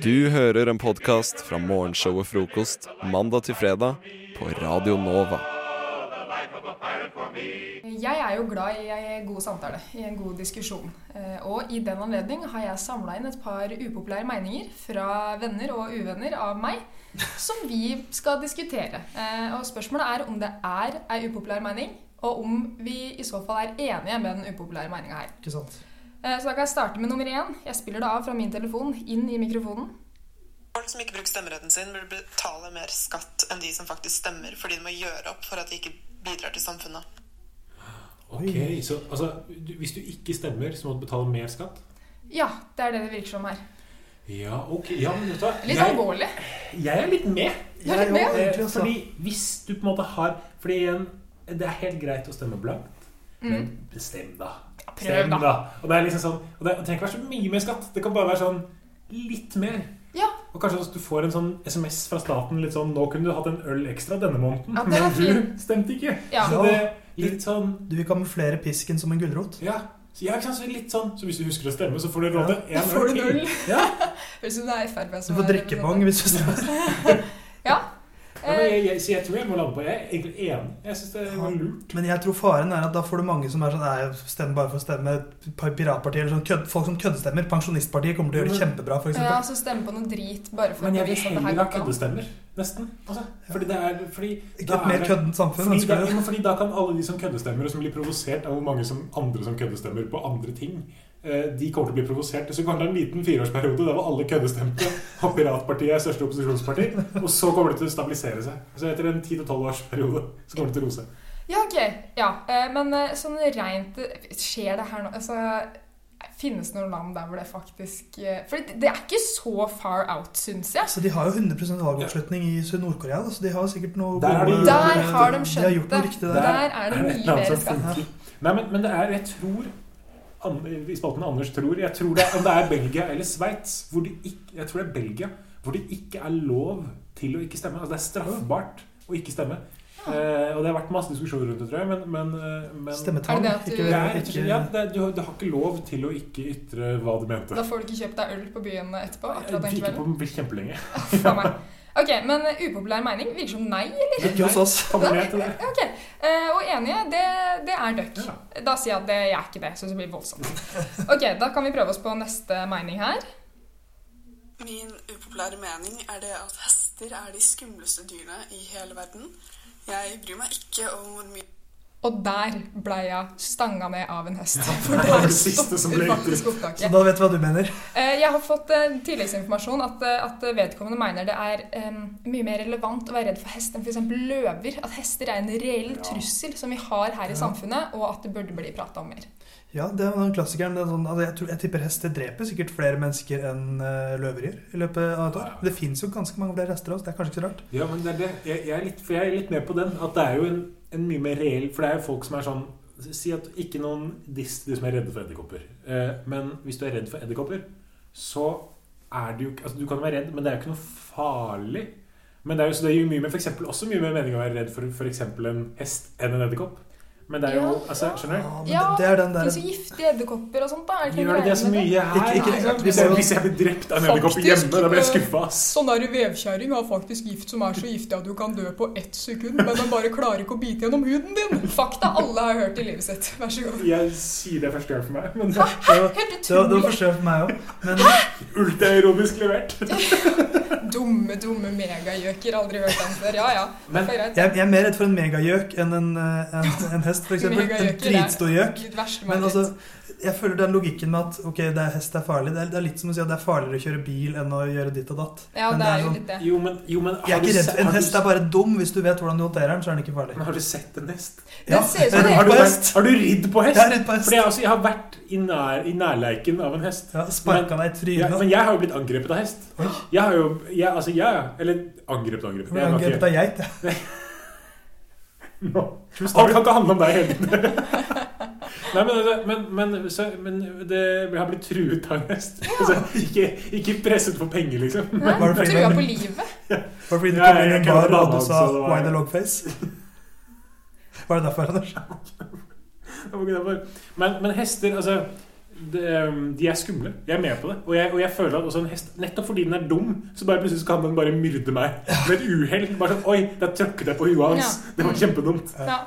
Speaker 8: Du hører en podkast fra morgenshow og frokost mandag til fredag på Radio Nova.
Speaker 4: Eh, Jeg er jo glad i en god samtale, i en god diskusjon. Eh, Og i den anledning har jeg samla inn et par upopulære meninger fra venner og uvenner av meg, som vi skal diskutere. Eh, Og spørsmålet er om det er ei upopulær mening, og om vi i så fall er enige med den upopulære meninga her.
Speaker 2: Ikke sant.
Speaker 4: Eh, Så da kan jeg starte med nummer én. Jeg spiller det av fra min telefon inn i mikrofonen.
Speaker 9: Folk som ikke bruker stemmeretten sin, burde betale mer skatt enn de som faktisk stemmer, fordi de må gjøre opp for at de ikke bidrar til samfunnet.
Speaker 3: Ok, så altså, du, Hvis du ikke stemmer, så må du betale mer skatt?
Speaker 4: Ja, det er det det virker som her.
Speaker 3: Ja, ok. Ja, men vet du hva?
Speaker 4: Litt
Speaker 3: jeg,
Speaker 4: alvorlig.
Speaker 3: jeg er litt med.
Speaker 4: er litt
Speaker 2: Jeg
Speaker 4: med.
Speaker 2: òg,
Speaker 3: Eh,
Speaker 2: egentlig. Altså.
Speaker 3: Fordi hvis du på en måte har Fordi igjen, det er helt greit å stemme blankt, men bestem, da.
Speaker 4: Mm. prøv, da.
Speaker 3: Og det er liksom sånn Og det, det trenger ikke være så mye mer skatt. Det kan bare være sånn litt mer.
Speaker 4: Ja,
Speaker 3: Og kanskje også du får en sånn SMS fra staten litt sånn 'Nå kunne du hatt en øl ekstra denne måneden',
Speaker 4: Ja, den er
Speaker 3: men
Speaker 4: fin.
Speaker 3: du stemte ikke.
Speaker 4: Ja.
Speaker 3: Så det litt sånn
Speaker 2: Du vil kamuflere pisken som en gulrot.
Speaker 3: Ja, så jeg kan si litt sånn Så hvis du husker å stemme, så får du råde
Speaker 4: da
Speaker 3: én
Speaker 4: får du null.
Speaker 3: til. Ja.
Speaker 4: Høres ut som det er Frp
Speaker 2: Du
Speaker 4: som
Speaker 2: får
Speaker 4: er-
Speaker 2: drikkepong hvis du stemmer.
Speaker 4: Ja.
Speaker 3: Ja, men jeg, jeg, så jeg tror jeg må lande på Jeg er egentlig enig. Jeg syns det var lurt.
Speaker 2: Men jeg tror faren er at da får du mange som er sånn Nei, stem bare for å stemme. Piratpartiet eller sånn. Kødd, folk som køddestemmer. Pensjonistpartiet kommer til å gjøre det kjempebra, for
Speaker 4: Ja,
Speaker 2: eksempel.
Speaker 4: så stemme på noe drit bare for
Speaker 3: Men
Speaker 4: å
Speaker 3: jeg vil
Speaker 4: vise at det her
Speaker 3: heller ha
Speaker 4: går an.
Speaker 3: køddestemmer. Nesten. Altså, fordi det er fordi
Speaker 2: Ikke
Speaker 3: da
Speaker 2: et
Speaker 3: er
Speaker 2: mer
Speaker 3: det-
Speaker 2: køddent samfunn.
Speaker 3: Fordi da,
Speaker 2: ønsker du.
Speaker 3: ja, men fordi da kan alle de som køddestemmer, og som blir provosert av hvor mange som, andre som køddestemmer på andre ting eh, de kommer til å bli provosert. Så kommer det en liten fireårsperiode der hvor alle køddestemte, og piratpartiet er største opposisjonsparti, og så kommer det til å stabilisere seg. Så etter en 10-12 års periode så kommer det til å rose.
Speaker 4: Ja, ok. Ja, eh, men eh, sånn rent eh, Skjer det her nå Altså, finnes det noen land der hvor det faktisk eh, For det det er ikke så far out, syns jeg.
Speaker 3: Altså,
Speaker 2: Så de har jo 100 valgoppslutning i Sør- Nord-Korea, da, så de har sikkert noe
Speaker 3: Der har de-
Speaker 2: gode-
Speaker 4: Der har
Speaker 2: De
Speaker 4: de
Speaker 2: har
Speaker 4: skjønt
Speaker 2: gjort noe
Speaker 4: det.
Speaker 2: riktig der.
Speaker 4: Der er det
Speaker 3: et
Speaker 4: mye
Speaker 3: eller annet
Speaker 4: mer
Speaker 3: som
Speaker 4: skatt.
Speaker 3: funker. Nei, men, men det er Jeg tror An- I spalten Anders tror Jeg tror det er, om det er Belgia eller Sveits hvor det ikke, Jeg tror det er Belgia hvor det ikke er lov til å ikke stemme. Altså det er straffbart å ikke stemme. Eh, og det har vært masse diskusjoner rundt det, tror jeg, men, men, eh, men
Speaker 4: Er det
Speaker 2: Stemmetall.
Speaker 4: det at du-
Speaker 2: Ikke,
Speaker 3: det er, rett og slett- ja,
Speaker 2: ikke,
Speaker 3: det er, du, har- du har ikke lov til å ikke ytre hva du mente.
Speaker 4: Da får du ikke kjøpt deg øl på byen etterpå.
Speaker 3: Jeg
Speaker 4: akkurat den
Speaker 3: fikk
Speaker 4: kvelden.
Speaker 3: på den kjempelenge.
Speaker 4: Faen meg. Ok, men eh, upopulær mening virker som nei, eller?
Speaker 2: ikke hos oss.
Speaker 3: Kommer ned til det.
Speaker 4: Ja, ok. Eh, og enige, det, det er døkk.
Speaker 3: Ja.
Speaker 4: Da sier jeg at det jeg er ikke det, så det blir voldsomt. Ok, da kan vi prøve oss på neste mening her.
Speaker 9: Min upopulære mening er det at hester er de skumleste dyrene i hele verden. Jeg bryr meg ikke om hvor mye
Speaker 4: Og der ble jeg stanga ned av en hest. For
Speaker 3: det var
Speaker 4: der
Speaker 3: det siste som
Speaker 4: stopper
Speaker 3: ble
Speaker 4: faktisk
Speaker 2: Så
Speaker 4: opptaket.
Speaker 2: da vet vi hva du mener.
Speaker 4: Eh, Jeg har fått eh, tilleggsinformasjon at, eh, at vedkommende mener det er em, mye mer relevant å være redd for hest enn f.eks. løver. At hester er en reell trussel som vi har her i samfunnet, og at det burde bli prata om mer.
Speaker 2: Ja, det er den klassikeren. Det er sånn, altså jeg, tror, jeg tipper hester dreper sikkert flere mennesker enn uh, løver gjør i løpet av et år. Det fins jo ganske mange flere hester også, det er kanskje ikke så rart.
Speaker 3: Ja, men det er det. Jeg, jeg, er litt, for jeg er litt med på den. At det er jo en, en mye mer reell For det er jo folk som er sånn Si at ikke noen diss til de som er redde for edderkopper. Eh, men hvis du er redd for edderkopper, så er det jo ikke altså, Du kan være redd, men det er jo ikke noe farlig. Men det er jo, så det gir jo mye mer, for eksempel, også mye mer mening å være redd for f.eks. en hest enn en edderkopp. Men det er jo
Speaker 4: Ja.
Speaker 3: altså, Skjønner du?
Speaker 2: Ja, men
Speaker 4: Ja,
Speaker 2: det, det er den
Speaker 4: Det
Speaker 2: der
Speaker 4: fins jo giftige edderkopper og sånt. da. Er det ikke
Speaker 3: Gjør det det
Speaker 4: greie
Speaker 3: så
Speaker 4: med
Speaker 3: mye her?
Speaker 2: Ikke- ikke-
Speaker 3: Nei, hvis, jeg, hvis jeg blir drept av en edderkopp
Speaker 4: Faktisk,
Speaker 3: hjemme, da blir jeg
Speaker 4: eh,
Speaker 3: skuffa, ass.
Speaker 4: Sånn der vevkjerring har faktisk gift som er så giftig at du kan dø på ett sekund, men den bare klarer ikke å bite gjennom huden din. Fakta alle har hørt i livet sitt. Vær så god.
Speaker 3: Jeg sier det første gang for meg, men
Speaker 2: Det var, det var,
Speaker 4: Helt
Speaker 2: det var
Speaker 4: utrolig
Speaker 2: forskjell for meg òg. Men
Speaker 3: ultraironisk levert.
Speaker 4: dumme, dumme megagjøker. Aldri hørt den før. Ja, ja.
Speaker 3: Men
Speaker 4: Det er greit.
Speaker 2: jeg, jeg er mer redd for en megagjøk enn en, eh, en, en hest, f.eks. En dritstor gjøk. Men altså, jeg føler den logikken med at ok, det er hest er farlig, det er, det er litt som å si at det er farligere å kjøre bil enn å gjøre ditt og datt.
Speaker 4: Ja,
Speaker 2: Men
Speaker 4: det er jo
Speaker 2: sånn-
Speaker 4: litt det.
Speaker 3: Jo, men, jo, men har
Speaker 2: jeg er ikke
Speaker 3: du
Speaker 2: redd.
Speaker 3: se-
Speaker 2: En
Speaker 3: har du
Speaker 2: hest
Speaker 3: se-
Speaker 2: er bare dum hvis du vet hvordan du håndterer den, så er den ikke farlig.
Speaker 3: Men har du sett en hest?
Speaker 2: Ja,
Speaker 4: Den ser ut som
Speaker 2: jeg
Speaker 4: en
Speaker 2: har du
Speaker 3: Har
Speaker 4: hest.
Speaker 3: du-
Speaker 2: hest?
Speaker 3: Har du ridd på hest?
Speaker 2: Jeg er redd på hest.
Speaker 3: Fordi jeg, altså, jeg har vært i, nær, i nærleiken av en hest.
Speaker 2: Ja, Sparka deg i
Speaker 3: Ja,
Speaker 2: trynet.
Speaker 3: men jeg har jo blitt angrepet av hest.
Speaker 2: Oi.
Speaker 3: Jeg har jo jeg, Altså, jeg Eller angrepet,
Speaker 2: Jeg
Speaker 3: angrepet.
Speaker 2: ble
Speaker 3: Jeg var
Speaker 2: angrepet
Speaker 3: ikke-
Speaker 2: av geit. jeg.
Speaker 3: Nå. Alt kan ikke handle om deg hele tiden. Nei, men, altså, men, men, så, men det, jeg har blitt truet av en hest. Altså, ikke, ikke presset for penger, liksom.
Speaker 4: Hæ?
Speaker 2: Var det fordi-
Speaker 4: Trua på livet.
Speaker 2: Var det fordi du
Speaker 3: Ja,
Speaker 2: kom inn i
Speaker 3: jeg
Speaker 2: en
Speaker 3: kan
Speaker 2: bar og
Speaker 3: blande
Speaker 2: du
Speaker 3: opp,
Speaker 2: sa
Speaker 3: så det var-
Speaker 2: 'why the log face'? Var det derfor, Anders?
Speaker 3: Det var ikke derfor. Men, men hester, altså det, um, de er skumle. Jeg er med på det. Og jeg, og jeg føler at også en hest, nettopp fordi den er dum, så bare plutselig så kan den bare myrde meg med et uhell. Bare sånn Oi, der tråkket jeg på huet hans.
Speaker 4: Ja.
Speaker 3: Det var kjempedumt.
Speaker 4: Ja.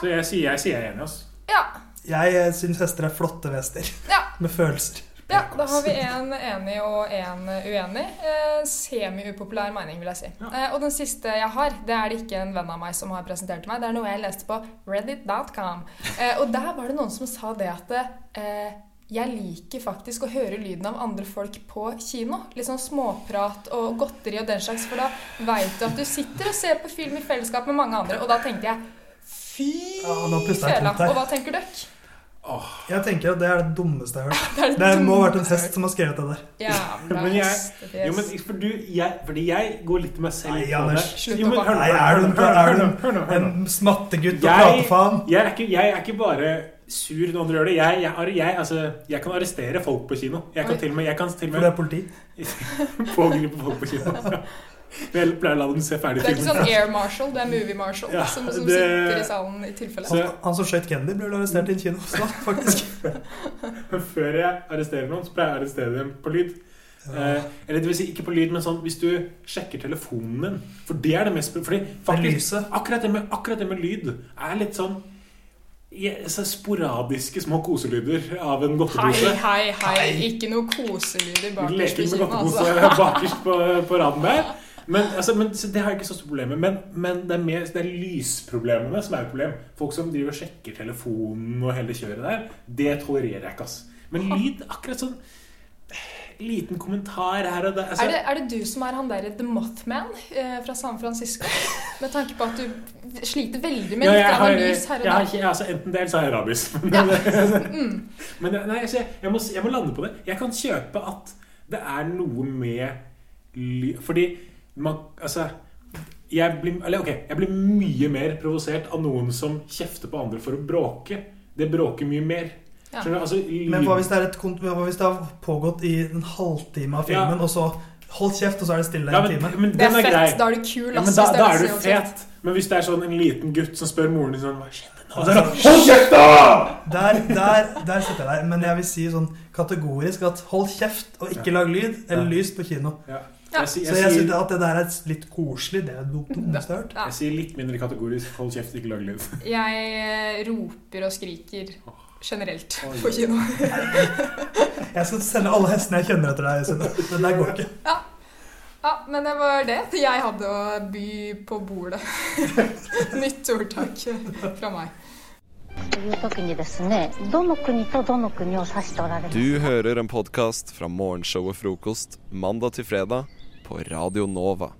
Speaker 3: Så jeg sier jeg, sier jeg er enig, altså.
Speaker 4: ja.
Speaker 2: Jeg eh, syns hester er flotte vester.
Speaker 4: Ja.
Speaker 2: Med følelser.
Speaker 4: Ja, da har vi en enig og en uenig. Eh, Semi-upopulær mening, vil jeg si. Eh, og den siste jeg har, det er det ikke en venn av meg som har presentert til meg. Det er noe jeg leste på reddit.com. Eh, og der var det noen som sa det at eh, jeg liker faktisk å høre lyden av andre folk på kino. Litt sånn småprat og godteri og den slags, for da veit du at du sitter og ser på film i fellesskap med mange andre. Og da tenkte jeg fy
Speaker 2: Ja, nå puster jeg
Speaker 4: fela.
Speaker 2: tungt her.
Speaker 4: Og hva tenker dere?
Speaker 2: Jeg tenker at Det er det dummeste jeg har hørt.
Speaker 4: Det, er
Speaker 2: Det må ha vært en
Speaker 4: dummeste jeg
Speaker 2: hest som har skrevet det der.
Speaker 4: Jævla
Speaker 3: Men jeg-
Speaker 4: hestefjes.
Speaker 3: Jo, men for du, jeg, fordi jeg går litt til meg selv.
Speaker 2: Nei,
Speaker 3: på
Speaker 2: Anders.
Speaker 3: det.
Speaker 4: Slutt
Speaker 3: Jo, men
Speaker 4: å
Speaker 3: hør nå,
Speaker 2: Nei,
Speaker 3: hør
Speaker 2: er du
Speaker 3: nå,
Speaker 2: en,
Speaker 3: hør nå,
Speaker 2: er
Speaker 3: hør
Speaker 2: du
Speaker 3: nå,
Speaker 2: en,
Speaker 3: hør nå, hør nå.
Speaker 2: en smattegutt og
Speaker 3: Jeg,
Speaker 2: pratefaen?
Speaker 3: jeg, er ikke, jeg er ikke bare sur når andre gjør det. Jeg, jeg, er- jeg, altså, jeg kan arrestere folk på kino. Jeg kan
Speaker 4: Oi.
Speaker 3: til og med, jeg kan til og
Speaker 2: For du
Speaker 3: med
Speaker 2: er politi?
Speaker 3: pågripe folk på kino. Men jeg pleier å la dem se ferdig
Speaker 4: Det er ikke
Speaker 3: filmen.
Speaker 4: sånn air marshal, det er movie marshal
Speaker 3: Ja,
Speaker 4: som, som
Speaker 3: det-
Speaker 4: sitter i salen i tilfelle.
Speaker 3: Så-
Speaker 2: Han, han som skjøt Kennedy, ble vel arrestert i en kino snart, faktisk.
Speaker 4: sånn-
Speaker 3: Men før jeg arresterer noen, så pleier jeg å arrestere dem på lyd. Eh, eller det vil si, ikke på lyd, men sånn hvis du sjekker telefonen din. For det er det mest Fordi faktisk,
Speaker 2: lyset.
Speaker 3: akkurat, det med, akkurat det med lyd er litt sånn je- så sporadiske små koselyder av en
Speaker 4: Hei,
Speaker 3: godtepose.
Speaker 4: hei, hei. Ikke noe koselyder bakerst i
Speaker 3: Leking med
Speaker 4: kinoen, altså.
Speaker 3: godtepose bakerst på, på raden der. Men, altså, men så Det har jeg ikke så store problemer med. Men, men det, er mer, det er lysproblemene som er et problem. Folk som driver og sjekker telefonen og hele kjøret der, det tolererer jeg ikke. ass Men lyd akkurat sånn Liten kommentar her og der. Altså,
Speaker 4: Er det, er det du som er han derre The Mothman eh, fra San Francisco? Med tanke på at du sliter veldig med
Speaker 3: Ja,
Speaker 4: litt
Speaker 3: jeg
Speaker 4: grann
Speaker 3: har,
Speaker 4: lys her og
Speaker 3: jeg har,
Speaker 4: der.
Speaker 3: ikke- altså, enten det, eller så har jeg rabies. Men,
Speaker 4: Mm.
Speaker 3: men nei, altså, jeg, jeg, må, s- jeg må lande på det. Jeg kan kjøpe at det er noe med ly... Fordi man Altså jeg blir, eller, ok, jeg blir mye mer provosert av noen som kjefter på andre for å bråke. Det bråker mye mer.
Speaker 4: Ja.
Speaker 3: Skjønner du? Altså,
Speaker 2: Men hva hvis det, er et, kont- hva hvis det har pågått i en halvtime av filmen,
Speaker 3: Ja.
Speaker 2: og så Hold kjeft, og så er det stille
Speaker 3: ja,
Speaker 2: en
Speaker 3: men,
Speaker 2: time.
Speaker 3: men
Speaker 4: Det
Speaker 3: den
Speaker 4: er
Speaker 3: er
Speaker 4: fett,
Speaker 3: grei.
Speaker 4: da er du kul.
Speaker 3: Ja, men
Speaker 4: ass,
Speaker 3: da,
Speaker 4: hvis det
Speaker 3: da
Speaker 4: det
Speaker 3: er
Speaker 4: som
Speaker 3: du
Speaker 4: gjør at-
Speaker 3: fet. Men hvis det er sånn en liten gutt som spør moren din sånn Hva skjedde
Speaker 2: Altså,
Speaker 3: nå? Og så er det, Hold kjeft, da!
Speaker 2: Der, der, der setter jeg deg. Men jeg vil si sånn kategorisk at hold kjeft og ikke lag lyd eller lys på kino.
Speaker 3: Ja.
Speaker 4: Ja.
Speaker 3: Jeg, sier-
Speaker 2: Så
Speaker 3: jeg,
Speaker 2: jeg
Speaker 3: sier-
Speaker 2: syns at det der er litt koselig. Det er jo det dummeste jeg har hørt.
Speaker 4: Ja.
Speaker 3: jeg sier litt mindre kategorisk 'hold kjeft, ikke lag lyd'.
Speaker 4: Jeg eh, roper og skriker generelt
Speaker 3: Oi.
Speaker 4: på kino.
Speaker 2: Jeg skal sende alle hestene jeg kjenner etter deg. Sunne. Det der går ikke.
Speaker 4: Ja, men det var det jeg hadde å by på bordet. Nytt ordtak fra meg.
Speaker 6: という時にですねどの国とどの国を指しておられる
Speaker 8: Du hører en podkast fra morgenshow og frokost mandag til fredag på Radio Nova.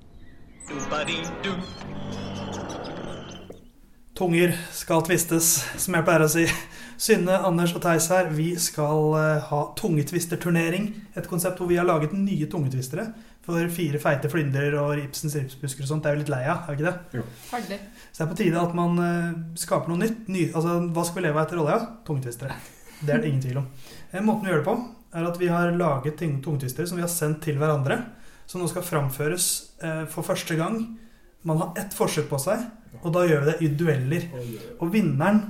Speaker 2: Tunger skal tvistes, som jeg pleier å si. Synne, Anders og Theis her, vi skal eh, ha tungetvisterturnering. Et konsept hvor vi har laget nye tungetvistere. For fire feite flynder og Ibsens ripsbusker og sånt. Det er vi litt lei av, er vi ikke det?
Speaker 4: Ferdig.
Speaker 2: Så det er på tide at man eh, skaper noe nytt. Ny, altså, hva skal vi leve av etter olja? Tungetvistere. Det er det ingen tvil om. Eh, måten vi gjør det på, er at vi har laget ting- tungetvistere som vi har sendt til hverandre. Som nå skal framføres eh, for første gang. Man har ett forsøk på seg, og da gjør vi det i dueller. Og vinneren,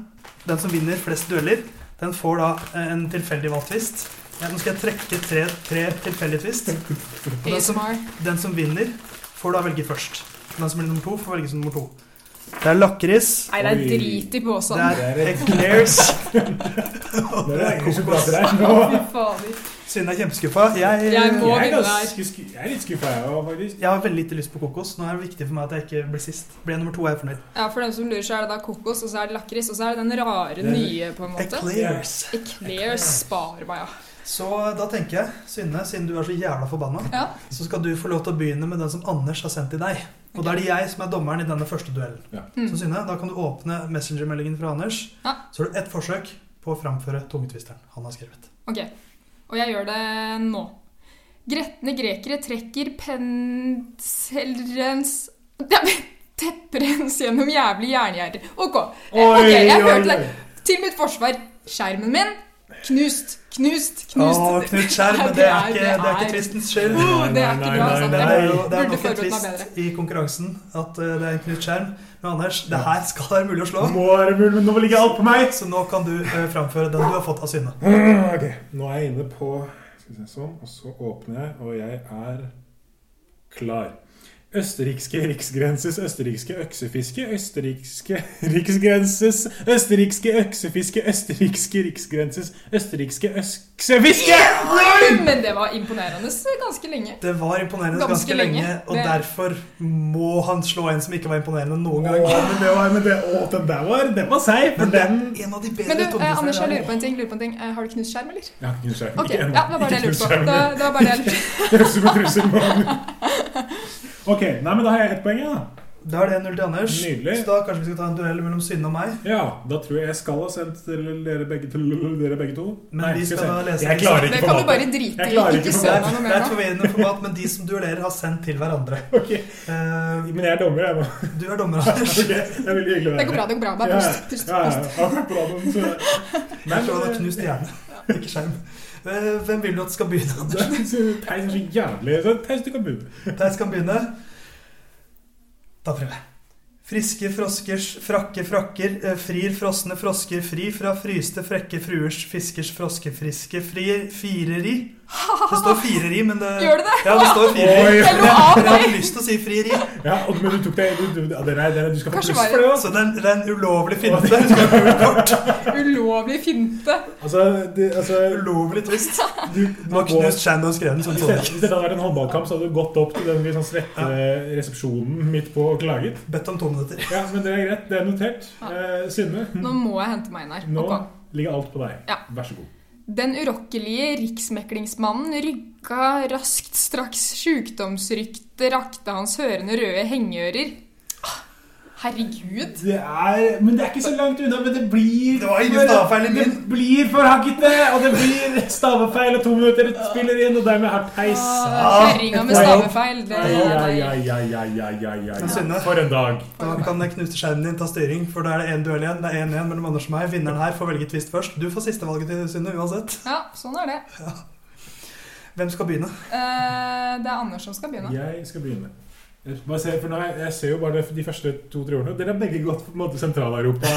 Speaker 2: den som vinner flest dueller, den får da eh, en tilfeldig valgt twist. Ja, Nå skal jeg trekke tre, tre tilfeldige twist. Og den som
Speaker 4: ASMR.
Speaker 2: den som vinner, får da velge først. Den som blir nummer to, får velge som nummer to. Det er lakris,
Speaker 4: Nei, det er
Speaker 3: Oi.
Speaker 4: drit
Speaker 2: det
Speaker 4: i posen.
Speaker 2: er eclairs
Speaker 3: Det er ikke så bra for deg nå.
Speaker 4: Fader.
Speaker 2: Siden jeg er kjempeskuffa. Jeg,
Speaker 4: Jeg må
Speaker 2: jeg,
Speaker 4: begynne
Speaker 2: er ganske
Speaker 4: der.
Speaker 2: sku- jeg er litt skuffa, jeg òg, faktisk. Jeg har veldig lite lyst på kokos. Nå er det viktig for meg at jeg ikke blir sist. Blir jeg nummer to, er jeg fornøyd.
Speaker 4: Ja, For dem som lurer, så er det da kokos, og så er det lakris, og så er det den rare
Speaker 2: Det er
Speaker 4: nye, på en måte.
Speaker 2: Eclairs.
Speaker 4: Eclairs Sparma, ja.
Speaker 2: Så da tenker jeg, Synne, siden du er så jævla forbanna, så skal du få lov til å begynne med den som Anders har sendt til deg. Og da er det jeg som er dommeren i denne første duellen.
Speaker 4: Mm.
Speaker 2: Så Synne, da kan du åpne messengermeldingen fra Anders.
Speaker 4: Ja.
Speaker 2: Så har du ett forsøk på å framføre tungetvisteren han har skrevet.
Speaker 4: Ok, og jeg gjør det nå. Gretne grekere trekker penselrens Ja, men Tepprens gjennom jævlig jerngjerder. Ok, eh, ok, jeg hørte det. Til mitt forsvar. Skjermen min knust, knust, knust.
Speaker 2: Å, knut skjerm, men det er ikke, det er ikke tvistens skyld.
Speaker 4: Oh, det er ikke bra.
Speaker 2: Nei, nei,
Speaker 4: sant?
Speaker 2: nei,
Speaker 4: Jeg
Speaker 2: Det er jo det er
Speaker 4: burde
Speaker 2: nok en
Speaker 4: forberedt meg bedre.
Speaker 2: tvist i konkurransen at eh, det er en knut skjerm. Men Anders, det her skal være mulig å slå.
Speaker 3: Må være mulig, men nå ligger alt på meg!
Speaker 2: Så nå kan du eh, framføre den du har fått av Synne.
Speaker 3: Ok, Nå er jeg inne på skal vi se sånn, og så åpner jeg, og jeg er klar. Østerrikske riksgrenses østerrikske øksefiske Østerrikske riksgrenses østerrikske øksefiske Østerrikske riksgrenses østerrikske øksefiske!
Speaker 4: Nei, Men det var imponerende ganske lenge.
Speaker 2: Det var imponerende
Speaker 4: Ganske
Speaker 2: ganske,
Speaker 4: lenge.
Speaker 2: lenge, og
Speaker 4: Det-
Speaker 2: derfor må han slå en som ikke var imponerende noen gang.
Speaker 3: Åh, men det var, men det, åh, den der var, den var seig, for den
Speaker 2: En av de
Speaker 4: Men du, eh, Anders, jeg lurer
Speaker 2: jeg
Speaker 4: på en ting. Lurer på en ting. Eh, har du knust skjerm, eller?
Speaker 3: Jeg har ikke kunnet skjermen.
Speaker 4: Ok,
Speaker 3: Ikke
Speaker 4: ja,
Speaker 3: ennå.
Speaker 4: det var bare det jeg
Speaker 3: Ikke
Speaker 4: lurte på.
Speaker 3: kunnet
Speaker 4: Det,
Speaker 3: skjermen.
Speaker 4: det var bare det jeg lurte på.
Speaker 3: Det høres ut som en trussel. men- Ok, nei, men da har jeg ett poeng, ja.
Speaker 2: Da er det null til Anders.
Speaker 3: Nydelig.
Speaker 2: Så da kanskje vi skal ta en duell mellom Synne og meg.
Speaker 3: Ja, da tror jeg jeg skal ha sendt til dere begge, til dere begge to.
Speaker 2: Men vi skal da
Speaker 3: jeg se.
Speaker 2: lese
Speaker 3: Jeg klarer
Speaker 4: Det
Speaker 3: ikke
Speaker 4: kan du
Speaker 3: formatet.
Speaker 4: bare drite
Speaker 3: Jeg
Speaker 4: i.
Speaker 3: klarer
Speaker 4: Ikke
Speaker 3: ikke
Speaker 4: søl
Speaker 2: Det
Speaker 4: meg noe
Speaker 2: er
Speaker 4: mer
Speaker 2: det er
Speaker 4: nå.
Speaker 2: et forvirrende format, men de som duellerer, har sendt til hverandre. Eh,
Speaker 3: Men jeg er dommer, jeg nå.
Speaker 2: du er dommer, Anders.
Speaker 3: Ok, det er veldig hyggelig å være
Speaker 4: Det går bra, det går bra. Bare
Speaker 3: Ja,
Speaker 4: pust, pust,
Speaker 3: ja, ja.
Speaker 4: pust.
Speaker 3: Ja, det går bra, men så- Nei,
Speaker 2: Jeg tror han har
Speaker 3: men-
Speaker 2: knust hjerne. Ikke skjerm. Eh, Hvem vil du at skal begynne,
Speaker 3: Det
Speaker 2: Anders?
Speaker 3: er eh, så- Theis er så jævlig så Theis, du kan begynne.
Speaker 2: Theis kan begynne. Da prøver jeg. Friske froskers frakke frakker, eh, frir frosne frosker fri fra fryste frekke fruers fiskers froskefriske frir fireri. Det står fireri, men det
Speaker 4: Gjør det det?
Speaker 2: Ja, det står fireri.
Speaker 3: Oi.
Speaker 2: Jeg,
Speaker 4: Jeg lo av
Speaker 2: jeg hadde
Speaker 4: meg.
Speaker 2: lyst til å si frieri,
Speaker 3: Ja, og, men du tok det du, du, ja, det er, det er, du skal få
Speaker 4: Kanskje
Speaker 3: pluss for
Speaker 4: bare-
Speaker 3: det.
Speaker 2: så det er en- det er en ulovlig finte. Du skal ha gult kort.
Speaker 4: Ulovlig finte.
Speaker 3: Altså, det, altså
Speaker 2: Ulovlig twist.
Speaker 3: du,
Speaker 2: Det var knust Shannon og skrev den som
Speaker 3: Hvis
Speaker 2: sånn.
Speaker 3: dette, hvis dette hadde vært en håndballkamp, så hadde du gått opp til den litt sånn svette resepsjonen midt på og klaget.
Speaker 2: Bedt om to minutter.
Speaker 3: Ja, men det er greit. Det er notert. Eh, Synne,
Speaker 4: Nå må jeg hente meg inn her.
Speaker 3: nå
Speaker 4: Ok.
Speaker 3: ligger alt på deg.
Speaker 4: Ja.
Speaker 3: Vær så god.
Speaker 4: Den urokkelige riksmeklingsmannen rygga raskt straks sjukdomsryktet rakte hans hørende røde hengeører. Ah, Herregud.
Speaker 3: Det er, men det er ikke så langt unna, men det blir
Speaker 2: Det var ingen stavefeil i min.
Speaker 3: Det blir for hakkete, og det blir stavefeil, og to minutter spiller inn, og dermed har Theis
Speaker 4: Kjerringa med stavefeil. Det,
Speaker 3: Ai, ai,
Speaker 4: nei.
Speaker 3: ai, ai, ai, ai, ai, ai.
Speaker 2: Synne.
Speaker 3: For en dag.
Speaker 2: Da kan jeg knuse skjermen din, ta styring, for da er det én duell igjen. Det er 1-1 mellom Anders og meg. Vinneren her får velge twist først. Du får siste valget til Synne uansett.
Speaker 4: Ja, sånn er det.
Speaker 2: Hvem skal begynne?
Speaker 4: Eh, Det er Anders som skal begynne.
Speaker 3: Jeg skal begynne. Jeg, bare ser, for nå, har jeg, jeg ser jo bare de første to-tre ordene. Dere har begge gått på en måte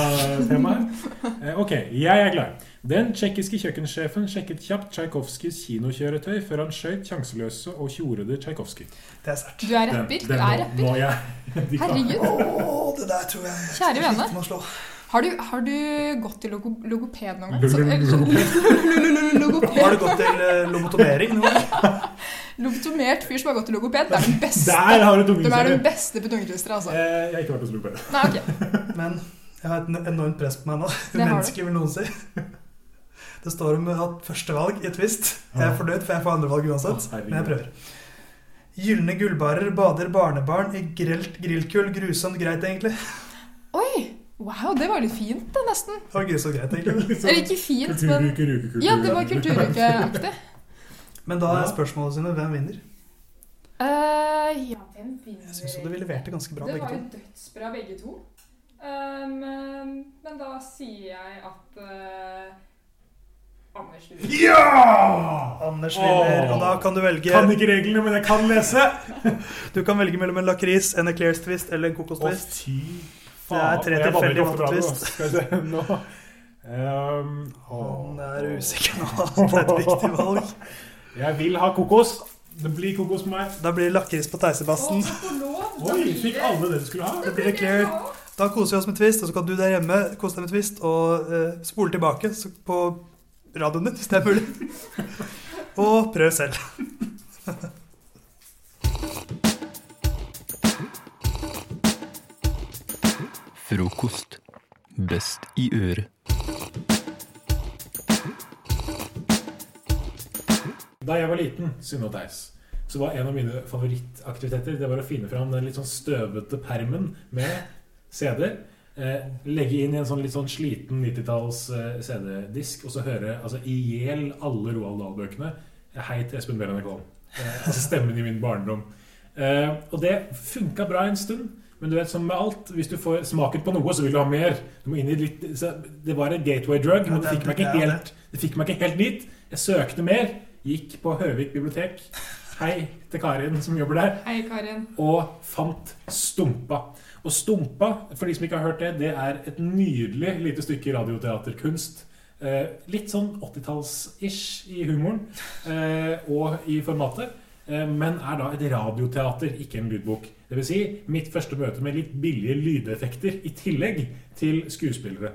Speaker 3: Sentral-Europa-temaet. Eh, Ok, jeg er klar. Den tsjekkiske kjøkkensjefen sjekket kjapt Tsjajkovskijs kinokjøretøy før han skjøt sjanseløse og tjorede Tsjajkovskij.
Speaker 2: Det er sært.
Speaker 4: Du er rapper. Du er rapper. Herregud.
Speaker 2: Å, det der tror jeg
Speaker 4: Kjære vene.
Speaker 2: Må slå.
Speaker 4: Har du, har du gått til logo, logoped noen gang?
Speaker 3: Lo- lo-
Speaker 4: Sånn, eller-
Speaker 2: Har
Speaker 4: Logoped.
Speaker 2: du gått til eh, lobotomering nå?
Speaker 4: Lobotomert fyr som har gått til logoped, det er den beste.
Speaker 3: Der har du
Speaker 4: De er den
Speaker 3: tungeserie!
Speaker 4: beste på tungetwistere, altså.
Speaker 3: Eh, jeg har ikke vært hos Lopelle.
Speaker 4: Nei, ok.
Speaker 2: Men jeg har et enormt press på meg nå.
Speaker 4: Det har du.
Speaker 2: Menneske, vil noen si. Det står om jeg har hatt førstevalg i twist. Jeg er fornøyd, for jeg får andrevalg uansett.
Speaker 3: Å, herregud.
Speaker 2: Men jeg prøver. Gylne gullbarer bader barnebarn i grelt grillkull. Grusomt greit, egentlig.
Speaker 4: Oi! Wow, det var litt fint, da, nesten.
Speaker 2: Det var grusomt greit, egentlig.
Speaker 4: Eller ikke fint, men
Speaker 3: Kulturuke, ruke,
Speaker 4: Ja, det var kulturukeaktig.
Speaker 2: Men da er
Speaker 3: Ja.
Speaker 2: spørsmålet sine hvem vinner?
Speaker 4: Eh, ja, hvem vinner?
Speaker 2: Jeg syns du leverte ganske bra,
Speaker 4: Det
Speaker 2: begge
Speaker 4: var
Speaker 2: to.
Speaker 4: jo dødsbra, begge to. Um, um, men da sier jeg at eh, Anders vinner.
Speaker 3: Ja!
Speaker 2: Anders vinner, og da kan du
Speaker 3: Kan
Speaker 2: velge
Speaker 3: ikke reglene, men jeg kan lese.
Speaker 2: Du kan velge mellom en lakris, en eclairs twist eller en
Speaker 3: Å,
Speaker 2: kokostvist.
Speaker 3: fy
Speaker 2: Det er tre
Speaker 3: Jeg banner ikke
Speaker 2: tilfeldige
Speaker 3: ofte på radio,
Speaker 2: valgtvist.
Speaker 3: da. Skal vi se nå Ehm,
Speaker 2: Han eh,
Speaker 3: åh.
Speaker 2: er usikker nå. Det er et viktig valg.
Speaker 3: Jeg vil ha kokos. Det blir kokos på meg.
Speaker 2: Da blir det lakris på Theisebassen.
Speaker 4: Å, takk og lov, da
Speaker 3: Oi,
Speaker 4: blir
Speaker 3: fikk
Speaker 4: det-
Speaker 3: alle det du skulle ha?
Speaker 2: Det blir eclair. Da koser vi oss med twist, og så kan du der hjemme kose deg med twist og eh, spole tilbake så- på radioen din hvis det er mulig. Og prøv selv.
Speaker 10: Frokost. Best i øret.
Speaker 3: Da jeg var liten, Sunne og Theis, så var en av mine favorittaktiviteter Det var å finne fram den litt sånn støvete permen med CD-er. Eh, legge inn i en sånn litt sånn sliten 90-talls eh, CD-disk, og så høre altså, i hjel alle Roald Dahl-bøkene. Hei til Espen Bjørn Kolm. Eh, altså stemmen i min barndom. Eh, og det funka bra en stund. Men du vet, som med alt, hvis du får smaken på noe, så vil du ha mer. Du må inn i litt, så det var en gateway drug, men det fikk meg ikke helt, det fikk meg ikke helt dit. Jeg søkte mer. Gikk på Høvik bibliotek. Hei til Karin som jobber der.
Speaker 4: Hei, Karin.
Speaker 3: Og fant Stumpa. Og Stumpa, for de som ikke har hørt det, det er et nydelig lite stykke radioteaterkunst. Eh, litt sånn 80-talls-ish i humoren eh, og i formatet. Eh, men er da et radioteater, ikke en lydbok. Det vil si, mitt første møte med litt billige lydeffekter i tillegg til skuespillere.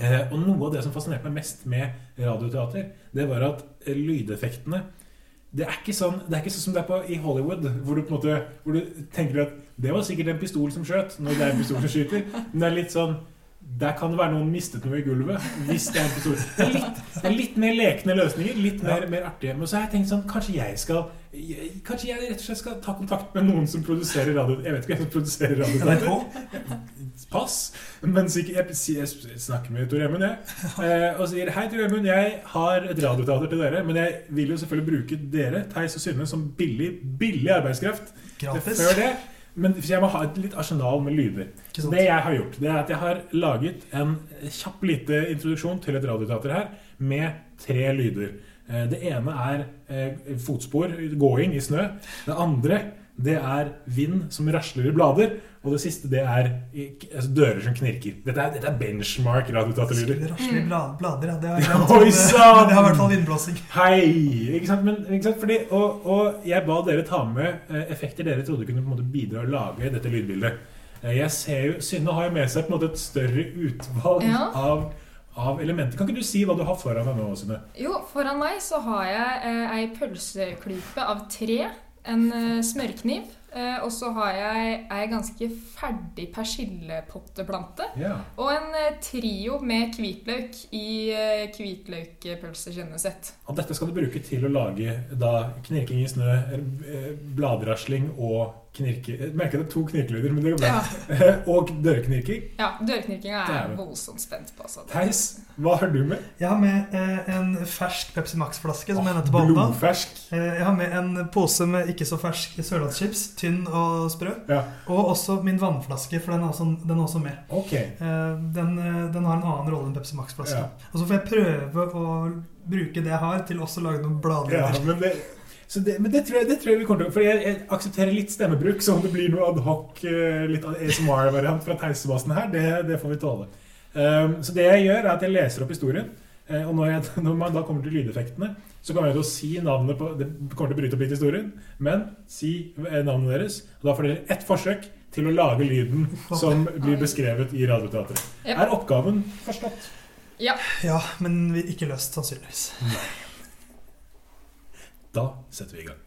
Speaker 3: Eh, og noe av det som fascinerte meg mest med radioteater, det var at eh, lydeffektene det er, ikke sånn, det er ikke sånn som det er på, i Hollywood, hvor du på en måte hvor du tenker at det var sikkert en pistol som skjøt. Når det er en pistol som skyter. Men det er litt sånn Der kan det være noen mistet noe i gulvet. Hvis det er en pistol. Det er litt, det er litt mer lekne løsninger. Litt mer, mer artige. Men så har jeg tenkt sånn Kanskje jeg skal jeg- Kanskje jeg rett og slett skal ta kontakt med noen som produserer radio. Jeg vet ikke hvem som produserer radio. Pass. Men sikkert, jeg, jeg snakker med Tor Gjermund, jeg. eh, Og sier hei, Tor Gjermund, jeg har et radioteater til dere. Men jeg vil jo selvfølgelig bruke dere, Theis og Synne, som billig, billig arbeidskraft.
Speaker 2: Gratis.
Speaker 3: Før det. Men for jeg må ha et litt arsenal med lyder.
Speaker 2: Ikke sant?
Speaker 3: Det jeg har gjort, det er at jeg har laget en kjapp lite introduksjon til et radioteater her med tre lyder. Eh, Det ene er eh, fotspor, gåing i snø. Det andre det er vind som rasler i blader. Og det siste det er eh, k- altså, dører som knirker. Dette er, dette er benchmark radioteaterlyder.
Speaker 2: Rasler i blad- blader, ja. Det har jeg
Speaker 3: Ja,
Speaker 2: glemt.
Speaker 3: oi,
Speaker 2: Men
Speaker 3: sann!
Speaker 2: Det har i hvert fall vindblåsing.
Speaker 3: Hei! Ikke sant? Men, ikke sant? Fordi, og, og jeg ba dere ta med eh, effekter dere trodde kunne på en måte bidra og lage dette lydbildet. Eh, Jeg ser jo, Synne har jo med seg på en måte et større utvalg
Speaker 4: Ja.
Speaker 3: av, av elementer. Kan ikke du si hva du har foran deg nå, Synne?
Speaker 4: Jo, foran meg så har jeg eh, ei pølseklype av tre, en eh, smørkniv, eh, og så har jeg ei ganske ferdig persillepotteplante.
Speaker 3: Ja.
Speaker 4: Og en eh, trio med hvitløk i eh, hvitløkpølsekjennesett.
Speaker 3: Og dette skal du bruke til å lage da knirking i snø, eh, bladrasling og knirke... Jeg merker det er to knirkelyder, men det går bra. og dørknirking.
Speaker 4: Ja, dørknirkinga er
Speaker 3: Dæven.
Speaker 4: jeg voldsomt spent på. altså. Så. det-
Speaker 3: Theis, hva har du med?
Speaker 2: Jeg har med eh, en fersk Pepsi Max-flaske. som jeg nettopp åpnet.
Speaker 3: Blodfersk.
Speaker 2: Eh, jeg har med en pose med ikke så fersk sørlandschips. Tynn og sprø. Og også min vannflaske, for den er også, den er også med.
Speaker 3: Ok.
Speaker 2: Eh, den, eh, den har en annen rolle enn Pepsi Max-flaska.
Speaker 3: Ja.
Speaker 2: Og så får jeg prøve å bruke det jeg har, til også å lage noen blader.
Speaker 3: Ja, men det, så det, men det tror jeg, det tror jeg vi kommer til å For jeg, jeg aksepterer litt stemmebruk, så om det blir noe adhoc, eh, litt ASMR-variant fra Theis-basen her, det, det får vi tåle. Um, så det jeg gjør, er at jeg leser opp historien. eh, Og når, jeg, når man da kommer til lydeffektene, så kommer jeg til å si navnet på Det kommer til å bryte opp litt historien, men si eh, navnet deres. Og da får dere ett forsøk til å lage lyden som blir beskrevet i Radioteatret.
Speaker 4: Jep.
Speaker 3: Er oppgaven forstått?
Speaker 4: Ja.
Speaker 2: Ja, men vi- ikke løst, sannsynligvis.
Speaker 3: Da setter vi i gang.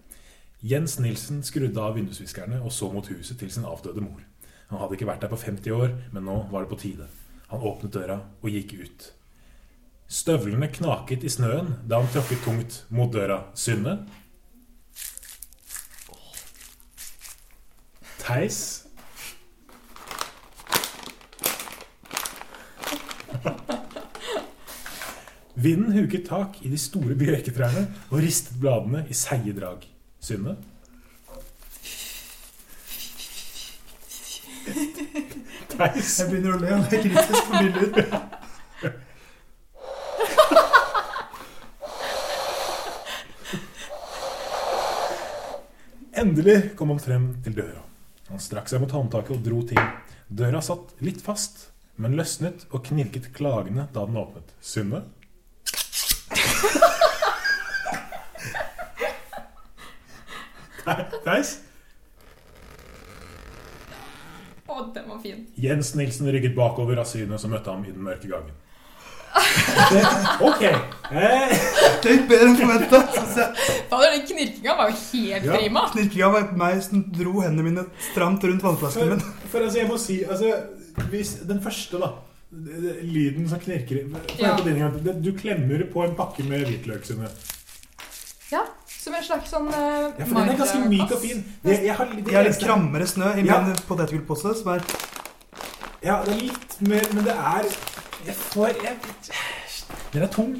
Speaker 3: Jens Nilsen skrudde av vindusviskerne og så mot huset til sin avdøde mor. Han hadde ikke vært der på 50 år, men nå var det på tide. Han åpnet døra og gikk ut. Støvlene knaket i snøen da han tråkket tungt mot døra. Synne? Theis? Vinden huket tak i de store bjørketrærne og ristet bladene i seige drag. Synne? Theis?
Speaker 2: Jeg begynner å le, og det er kritisk for min lyd.
Speaker 3: Endelig kom han frem til døra. Han strakk seg mot håndtaket og dro til. Døra satt litt fast, men løsnet og knirket klagende da den åpnet. Synne? Theis?
Speaker 4: Å, den var fin.
Speaker 3: Jens Nilsen rygget bakover av synet som møtte ham i den mørke gangen. OK. Eh,
Speaker 2: Det gikk bedre enn forventa.
Speaker 4: Fader, den knirkinga var jo helt prima.
Speaker 2: Knirkinga var meg som dro hendene mine stramt rundt vannflasken min.
Speaker 3: For, for altså, jeg må si altså, hvis Den første, da. Lyden som knirker Få høre
Speaker 4: Ja.
Speaker 3: på din en gang til. Du klemmer på en pakke med hvitløk, Synne.
Speaker 4: Ja, som en slags sånn uh,
Speaker 3: Ja, for den er ganske myk og fin. Jeg, jeg har,
Speaker 2: Jeg har litt krammere snø i
Speaker 3: Ja.
Speaker 2: min potetgullpose, som er
Speaker 3: Ja, det er litt mer, men det er Jeg får jeg, Den er tung.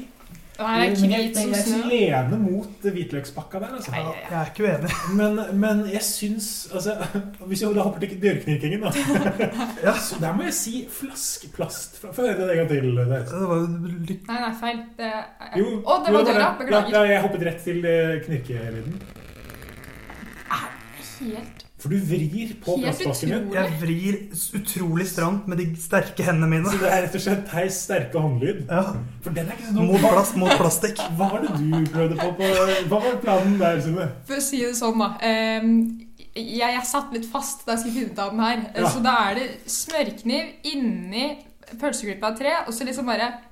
Speaker 4: Den er
Speaker 3: Men jeg-
Speaker 4: hvit som
Speaker 3: Jeg
Speaker 4: snø.
Speaker 3: er lene mot hvitløkspakka der. Altså.
Speaker 2: Jeg er ikke uenig.
Speaker 3: Men, men jeg syns altså, Hvis jeg da hopper til dørknirkingen, da Så der må jeg si flaskeplast. Få høre det en gang til. Der.
Speaker 2: Det var jo lykke
Speaker 4: Nei, nei, feil. Det er...
Speaker 3: Jo,
Speaker 4: Å, det
Speaker 3: jo,
Speaker 4: var døra.
Speaker 3: Ja,
Speaker 4: Beklager.
Speaker 3: ja, jeg hoppet rett til eh, knirkelyden.
Speaker 4: Helt
Speaker 3: For du vrir på
Speaker 4: Helt
Speaker 3: plastflasken min.
Speaker 4: utrolig.
Speaker 2: Jeg vrir s- utrolig stramt med de sterke hendene mine.
Speaker 3: Så det er rett og slett Theis sterke håndlyd. For den er ikke så dum.
Speaker 2: Mot plast, mot plastikk.
Speaker 3: Hva var det du prøvde på? på hva var planen der, Sunne?
Speaker 4: For å si det sånn, da. ehm, jeg er satt litt fast da jeg skulle finne ut av den her. Eh,
Speaker 3: Ja.
Speaker 4: Så da er det smørkniv inni pølseklypa av tre, og så liksom bare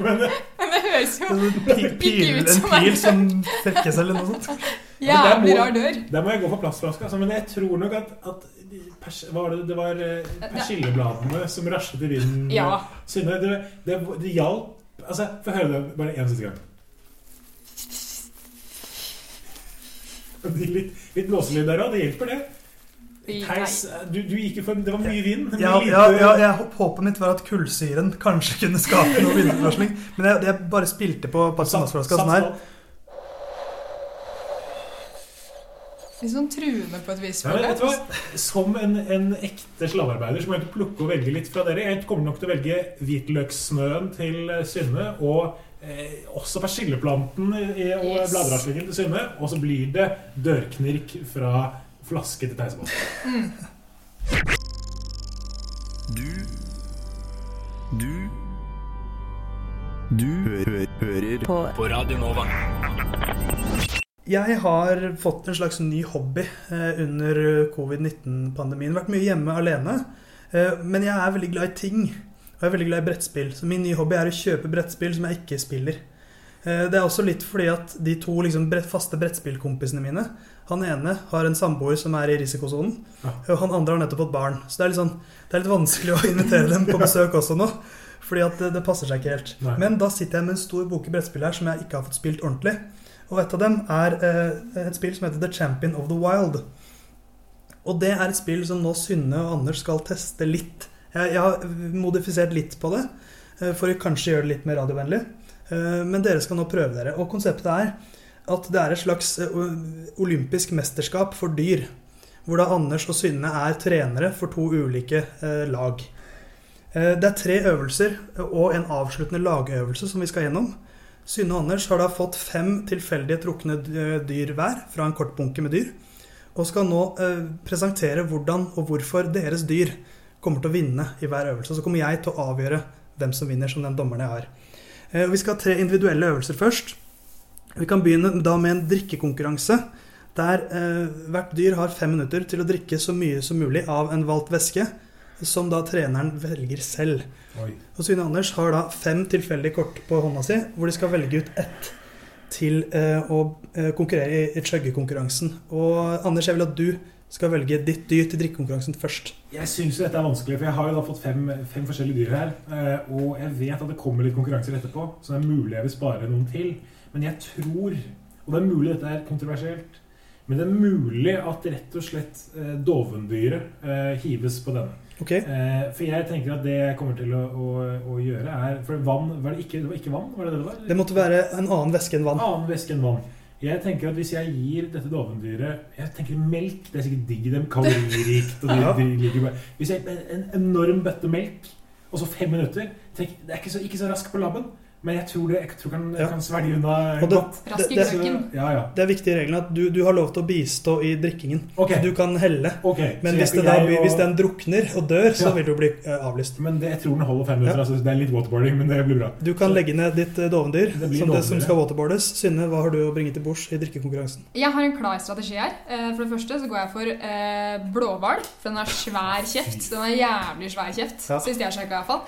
Speaker 4: Men det høres jo
Speaker 2: Pil,
Speaker 4: pikk ut
Speaker 2: en
Speaker 4: som
Speaker 2: pil
Speaker 4: en
Speaker 2: som trekker seg eller noe sånt.
Speaker 3: Men der
Speaker 4: jævlig
Speaker 3: må-
Speaker 4: rar dør.
Speaker 3: Der må jeg gå for plastflaske. Altså, men jeg tror nok at, at pers, hva var det, det var eh, persillebladene som raslet i vinden.
Speaker 4: Ja.
Speaker 3: Synne, det, det, det hjalp Altså, Få høre det bare en siste gang. Litt, litt blåselyd der òg. Det hjelper, det. Theis, du, du gikk jo for Det var mye vind. men
Speaker 2: Jeg,
Speaker 3: lite-
Speaker 2: jeg, jeg, jeg, håp- håpet mitt var at kullsyren kanskje kunne skape noe vindvarsling, men jeg, jeg bare spilte på parsemasflaska sånn her.
Speaker 4: Litt sånn truende på et vis.
Speaker 3: Ja, men vet du hva? Som en, en ekte slavearbeider så må jeg ikke plukke og velge litt fra dere. Jeg kommer nok til å velge hvitløkssnøen til eh, Synne, og eh, også persilleplanten i- og
Speaker 4: Yes.
Speaker 3: bladraslingen til Synne. Og så blir det dørknirk fra flaske til teisebåt.
Speaker 4: Mm.
Speaker 11: Du Du Du hø hø hører på. på Radio Nova.
Speaker 2: Jeg har fått en slags ny hobby eh, under covid-19-pandemien. Vært mye hjemme alene. Eh, men jeg er veldig glad i ting. Og jeg er veldig glad i brettspill. Så min nye hobby er å kjøpe brettspill som jeg ikke spiller. Eh, det er også litt fordi at de to liksom, brett, faste brettspillkompisene mine Han ene har en samboer som er i risikosonen, og han andre har nettopp fått barn. Så det er litt, sånn, det er litt vanskelig å invitere dem på besøk også nå. Fordi at det, det passer seg ikke helt.
Speaker 3: Nei.
Speaker 2: Men da sitter jeg med en stor bok i brettspill her som jeg ikke har fått spilt ordentlig. Og et av dem er eh, et spill som heter The Champion of the Wild. Og det er et spill som nå Synne og Anders skal teste litt. Jeg, jeg har modifisert litt på det, eh, for å kanskje gjøre det litt mer radiovennlig. Eh, Men dere skal nå prøve dere. Og konseptet er at det er et slags eh, o- olympisk mesterskap for dyr. Hvor da Anders og Synne er trenere for to ulike eh, lag. Eh, Det er tre øvelser og en avsluttende lagøvelse som vi skal gjennom. Synne og Anders har da fått fem tilfeldige trukne eh, dyr hver fra en kortbunke med dyr. Og skal nå eh, presentere hvordan og hvorfor deres dyr kommer til å vinne i hver øvelse. Så kommer jeg til å avgjøre hvem som vinner, som den dommeren jeg har. Eh, og vi skal ha tre individuelle øvelser først. Vi kan begynne da med en drikkekonkurranse. Der eh, hvert dyr har fem minutter til å drikke så mye som mulig av en valgt væske, som da treneren velger selv.
Speaker 3: Oi.
Speaker 2: Og Synne Anders har da fem tilfeldige kort på hånda si, hvor de skal velge ut ett til eh, å eh, konkurrere i, i chuggekonkurransen. Og Anders, jeg vil at du skal velge ditt dyr til drikkekonkurransen først.
Speaker 3: Jeg syns dette er vanskelig, for jeg har jo da fått fem, fem forskjellige dyr her. eh, Og jeg vet at det kommer litt konkurranser etterpå, så det er mulig jeg vil spare noen til. Men jeg tror, og det er mulig dette er kontroversielt, men det er mulig at rett og slett eh, dovendyret eh, hives på denne. Eh, For jeg tenker at det jeg kommer til å, å, å gjøre, er For vann var det ikke, det var ikke vann? Var det det det var?
Speaker 2: Det måtte være en annen væske enn vann.
Speaker 3: Annen væske enn vann. Jeg tenker at Hvis jeg gir dette dovendyret Jeg tenker melk. Det er sikkert digg. Det er kaloririkt. Og de,
Speaker 2: Ja.
Speaker 3: de liker bare. Hvis jeg en enorm bøtte melk, og så fem minutter tenk, Det er ikke så, ikke så raskt på labben, Men jeg tror, det, jeg tror kan, jeg kan svelge unna
Speaker 2: Og det,
Speaker 3: godt.
Speaker 2: det, det, det,
Speaker 3: Ja, ja.
Speaker 2: det er viktig i regelen at du, du har lov til å bistå i drikkingen.
Speaker 3: Ok.
Speaker 2: Du kan helle.
Speaker 3: Ok,
Speaker 2: Men
Speaker 3: så
Speaker 2: hvis,
Speaker 3: jeg-
Speaker 2: det da,
Speaker 3: jeg
Speaker 2: blir-
Speaker 3: og-
Speaker 2: hvis den drukner og dør, så
Speaker 3: Ja.
Speaker 2: vil du bli eh, avlyst.
Speaker 3: Men det, jeg tror den holder fem minutter. Altså, det er litt waterboarding, men det blir bra.
Speaker 2: Du kan legge ned ditt eh, dovendyr som,
Speaker 3: blir
Speaker 2: det, som
Speaker 3: dovendyr,
Speaker 2: skal waterboardes. Synne, hva har du å bringe til bords i drikkekonkurransen?
Speaker 4: Jeg har en klar strategi her. Eh, For det første så går jeg for eh, blåhval. For den har svær kjeft. Den har jævlig svær kjeft,
Speaker 2: Ja.
Speaker 4: sist jeg sjekka iallfall.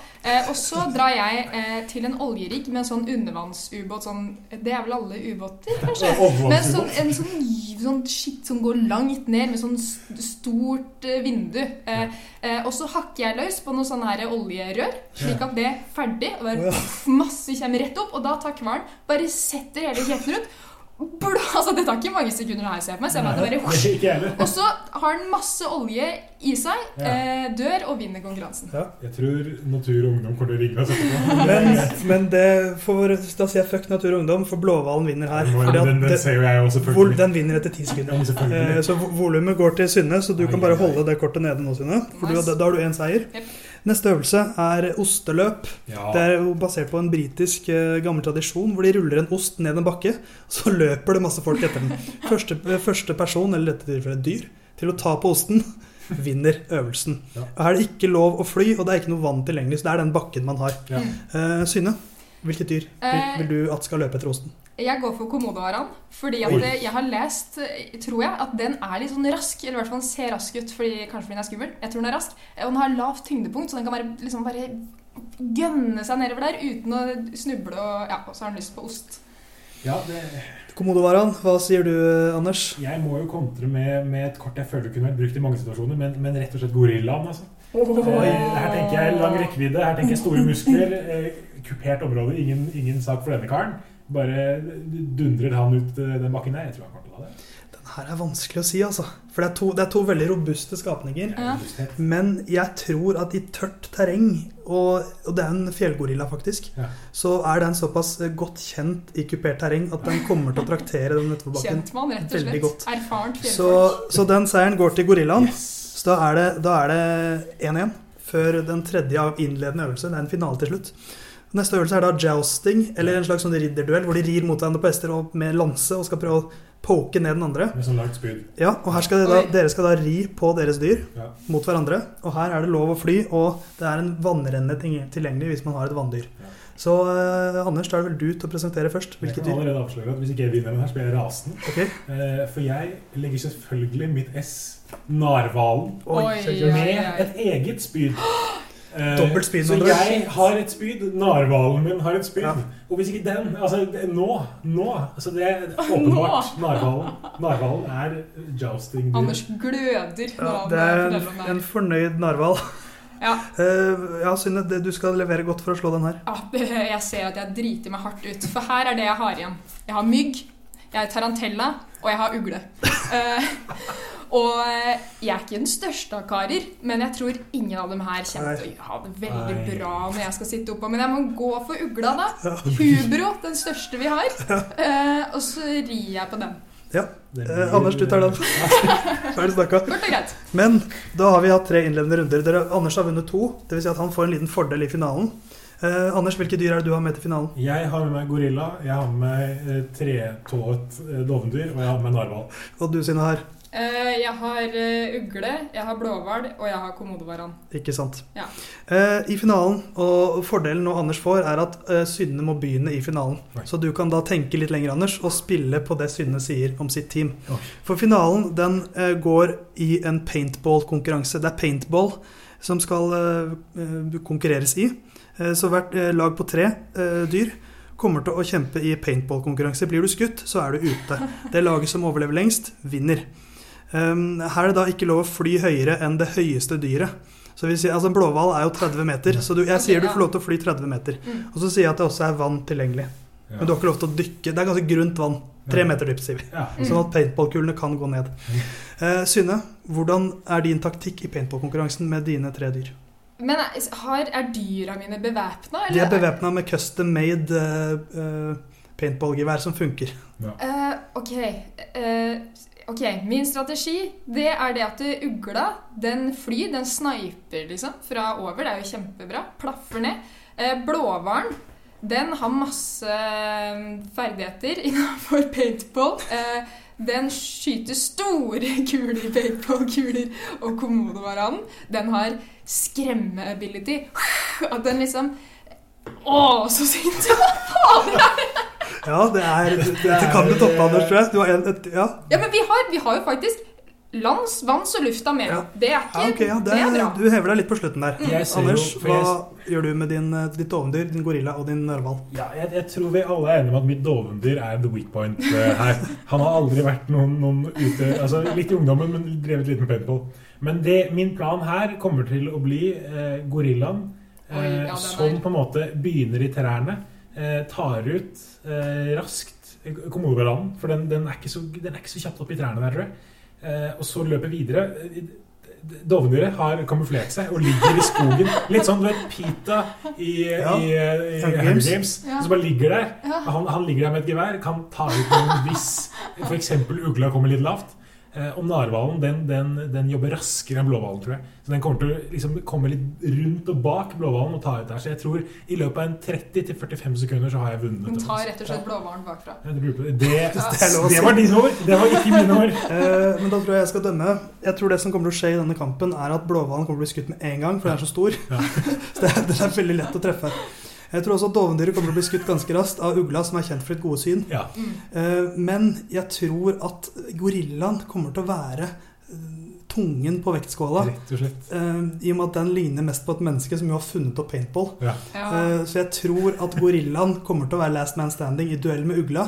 Speaker 4: Og så drar jeg eh, til en oljerigg med en sånn undervannsubåt sånn Det er vel alle ubåter, kanskje?
Speaker 12: Overvannsubåt.
Speaker 4: Men sånn, en sånn, sånn shit som går langt ned, med sånn st- stort eh, vindu. Eh, eh, Og så hakker jeg løs på noe sånn her oljerør, slik at det er ferdig.
Speaker 2: Å,
Speaker 4: Og
Speaker 2: ja.
Speaker 4: bare pff, masse kommer rett opp, og da tar hvalen bare setter hele kjeften rundt. Blå, altså Det tar ikke mange sekunder her, ser jeg for meg. Ser jeg for meg at det bare,
Speaker 3: Ikke jeg heller.
Speaker 4: og så har den masse olje i seg,
Speaker 3: Ja.
Speaker 4: eh, dør og vinner konkurransen.
Speaker 3: Jeg tror Natur og Ungdom kommer til å altså. ringe oss etterpå.
Speaker 2: Men, men det får, da sier jeg fuck Natur og Ungdom, for Blåhvalen vinner her.
Speaker 3: Den-
Speaker 2: Fordi at
Speaker 3: den- den
Speaker 2: det-
Speaker 3: ser jo jeg også, selvfølgelig.
Speaker 2: Vol, den vinner etter ti sekunder.
Speaker 3: Ja, selvfølgelig.
Speaker 2: Eh, Så vo- volumet går til Synne, så du kan bare holde det kortet nede nå, Synne. For du,
Speaker 4: Nice.
Speaker 2: da har du én seier. Neste øvelse er osteløp.
Speaker 3: Ja.
Speaker 2: Det er jo basert på en britisk eh, gammel tradisjon hvor de ruller en ost ned en bakke, og så løper det masse folk etter den. Første, eh, første person, eller i dette tilfellet et dyr, til å ta på osten vinner øvelsen. Og Her er det ikke lov å fly, og det er ikke noe vann tilgjengelig, så det er den bakken man har.
Speaker 4: Ja.
Speaker 2: Eh, Synne, hvilket dyr vil,
Speaker 4: Eh.
Speaker 2: vil du at skal løpe etter osten?
Speaker 4: Jeg går for komodoaran, fordi at
Speaker 2: Oi.
Speaker 4: eh, jeg har lest, eh, tror jeg, at den er litt sånn rask. Eller i hvert fall den ser rask ut, fordi, kanskje fordi den er skummel. Jeg tror den er rask. Eh, Og den har lavt tyngdepunkt, så den kan bare, liksom bare gønne seg nedover der uten å snuble. Og, ja, og så har den lyst på ost.
Speaker 3: Ja, det,
Speaker 2: Komodovaran, hva sier du, Anders?
Speaker 3: jeg må jo kontre med, med et kort jeg føler kunne vært brukt i mange situasjoner, men, men rett og slett gorillaen. Altså. Eh, Her tenker jeg lang rekkevidde, her tenker jeg store muskler, eh, kupert område, ingen, ingen sak for denne karen. Bare dundrer han ut eh, den bakken der. Jeg tror han kommer til å ta det.
Speaker 2: Den her er vanskelig å si, altså. For det er to, det er to veldig robuste skapninger.
Speaker 4: Ja.
Speaker 2: Men jeg tror at i tørt terreng, og, og det er en fjellgorilla faktisk,
Speaker 3: Ja.
Speaker 2: så er den såpass godt kjent i kupert terreng at den kommer til å traktere den nedoverbakken
Speaker 4: Kjent mann, rett og
Speaker 2: veldig
Speaker 4: slett.
Speaker 2: godt.
Speaker 4: Erfarent
Speaker 2: Så,
Speaker 4: fjellfolk.
Speaker 2: så den seieren går til gorillaen. Så da er det- da er det 1-1 før den tredje av innledende øvelse. Det er en finale til slutt. Neste øvelse er da jousting, eller en slags sånn ridderduell, hvor de rir mot hverandre på hester og med lanse og skal prøve å poke ned den andre.
Speaker 3: Med sånn langt spyd.
Speaker 2: Ja, og her skal dere da, dere skal da ri på deres dyr
Speaker 3: Ja.
Speaker 2: mot hverandre. Og her er det lov å fly, og det er en vannrenne ting- tilgjengelig hvis man har et vanndyr. Så eh, Anders, da er det vel du til å presentere først.
Speaker 3: Jeg
Speaker 2: Hvilket
Speaker 3: kan
Speaker 2: dyr?
Speaker 3: allerede avsløre at Hvis ikke jeg vinner den her, så blir jeg rasende. Eh, For jeg legger selvfølgelig mitt S, narhvalen,
Speaker 2: Oi, Oi, oi,
Speaker 3: med
Speaker 2: oi.
Speaker 3: et eget spyd. Eh,
Speaker 2: Dobbelt spyd,
Speaker 3: så
Speaker 2: med andre ord.
Speaker 3: jeg har et spyd, narhvalen min har et spyd. Og hvis ikke den Altså, det- nå. Nå. Så det er åpenbart.
Speaker 4: Nå.
Speaker 3: Narhvalen Narhvalen er jousting.
Speaker 4: Anders
Speaker 2: Ja,
Speaker 4: gløder. når han
Speaker 2: det er en,
Speaker 4: forteller om det her.
Speaker 2: en fornøyd narhval.
Speaker 4: Ja.
Speaker 2: Eh, ja, Synne, det- du skal levere godt for å slå den her.
Speaker 4: Ja, jeg ser at jeg driter meg hardt ut. For her er det jeg har igjen. Jeg har mygg, jeg har tarantella, og jeg har ugle. Eh, og eh, jeg er ikke den største av karer, men jeg tror ingen av dem her kommer til å ha det veldig
Speaker 3: Nei.
Speaker 4: bra når jeg skal sitte oppå. Men jeg må gå for ugla, da. Hubro, den største vi har. Eh, og så rir jeg på den.
Speaker 2: Ja. Eh, Anders, du tar den. Ferdig snakka.
Speaker 4: Kort og greit.
Speaker 2: Men da har vi hatt tre innledende runder. Dere, Anders har vunnet to. Dvs. Si at han får en liten fordel i finalen. Eh, Anders, hvilke dyr er det du har med til finalen?
Speaker 3: Jeg har med meg gorilla, jeg har med meg eh, tretået eh, dovendyr, og jeg har med meg narhval.
Speaker 2: Og du, Synne, har?
Speaker 4: Eh, jeg har eh, ugle, jeg har blåhval, og jeg har komodovaran.
Speaker 2: Ikke sant.
Speaker 4: Ja.
Speaker 2: Eh, I finalen, og fordelen nå Anders får, er at eh, Synne må begynne i finalen. Så du kan da tenke litt lenger, Anders, og spille på det Synne sier om sitt team. For finalen, den eh, går i en paintball-konkurranse. Det er paintball som skal eh, eh, konkurreres i. Eh, så hvert eh, lag på tre eh, dyr kommer til å kjempe i paintball-konkurranse. Blir du skutt, så er du ute. Det laget som overlever lengst, vinner. Um, her er det da ikke lov å fly høyere enn det høyeste dyret. Så vi sier, altså En blåhval er jo 30 meter, så du, jeg sier du får lov til å fly 30 meter. Og så sier jeg at det også er vann tilgjengelig. Men du har ikke lov til å dykke. Det er ganske grunt vann. Tre
Speaker 3: Ja.
Speaker 2: meter dypt, sier vi.
Speaker 3: Ja.
Speaker 2: Sånn at paintballkulene kan gå ned. Eh, Synne, hvordan er din taktikk i paintballkonkurransen med dine tre dyr?
Speaker 4: Men er, har, er dyra mine bevæpna?
Speaker 2: De er bevæpna med custom made eh, eh, paintballgevær som funker.
Speaker 4: Eh, ok. eh, ok, Min strategi det er det at ugla den flyr, den sniper liksom fra over. Det er jo kjempebra. Plaffer ned. Uh, Eh, Blåhvalen Den har masse eh, ferdigheter innenfor paintball. Eh, Den skyter store kuler i paintball-kuler og kommodovaranen. Den har skremme-ability. At den liksom Å, så sint! Hva faen er det?
Speaker 2: Ja, det er Dette kan du toppe, Anders, tror jeg. Du har en, et, ja.
Speaker 4: Ja, men vi har, vi har jo faktisk lands, vanns og lufta med.
Speaker 2: Ja.
Speaker 4: Det er ikke
Speaker 2: Ja, ok, ja,
Speaker 4: det, er bra.
Speaker 2: Du hever deg litt på slutten der.
Speaker 4: Mm. Jeg ser jo-
Speaker 2: Anders,
Speaker 3: for
Speaker 2: hva
Speaker 3: jeg-
Speaker 2: gjør du med din, eh, ditt dovendyr, din gorilla og din narhval?
Speaker 3: Ja, jeg, jeg tror vi alle er enige om at mitt dovendyr er the weak point eh, her. Han har aldri vært noen, noen ute Altså litt i ungdommen, men drevet litt med paintball. Men det, min plan her kommer til å bli eh, gorillaen eh,
Speaker 13: Oi, ja, den er-
Speaker 3: som på en måte begynner i trærne, eh, tar ut eh, raskt eh, kommodovaranen, for den, den, er ikke så, den er ikke så kjapt opp i trærne der, tror jeg. Eh, og så løper videre. Dovendyret har kamuflert seg og ligger i skogen. Litt sånn du vet, Pita i, i, eh, i
Speaker 13: Hunger
Speaker 3: Hunger
Speaker 13: Games.
Speaker 3: Games.
Speaker 13: Ja.
Speaker 3: Som bare ligger der.
Speaker 13: Ja.
Speaker 3: Han, han ligger der med et gevær, kan ta ut noen hvis f.eks. ugla kommer litt lavt. Eh, og narhvalen den, den, den jobber raskere enn blåhvalen, tror jeg. Så den kommer til å liksom, komme litt rundt og bak blåhvalen og ta ut der. Så jeg tror i løpet av en 30-45 sekunder så har jeg vunnet.
Speaker 4: Den tar rett og slett blåhvalen bakfra.
Speaker 3: Jeg lurer på- Det,
Speaker 2: Det er lov å
Speaker 3: det
Speaker 2: si.
Speaker 3: var dine ord! Det var ikke mine ord.
Speaker 2: Eh, men da tror jeg jeg skal dømme. Jeg tror det som kommer til å skje i denne kampen, er at blåhvalen kommer til å bli skutt med en gang, for den er så stor. så det, den er veldig lett å treffe. Jeg tror også at dovendyret kommer til å bli skutt ganske raskt av ugla, som er kjent for sitt gode syn.
Speaker 13: Mm.
Speaker 2: Eh, men jeg tror at gorillaen kommer til å være eh, tungen på vektskåla.
Speaker 3: Rett og slett.
Speaker 2: Eh, I og med at den ligner mest på et menneske som jo har funnet opp paintball.
Speaker 3: Ja.
Speaker 2: Eh, så jeg tror at gorillaen kommer til å være last man standing i duell med ugla.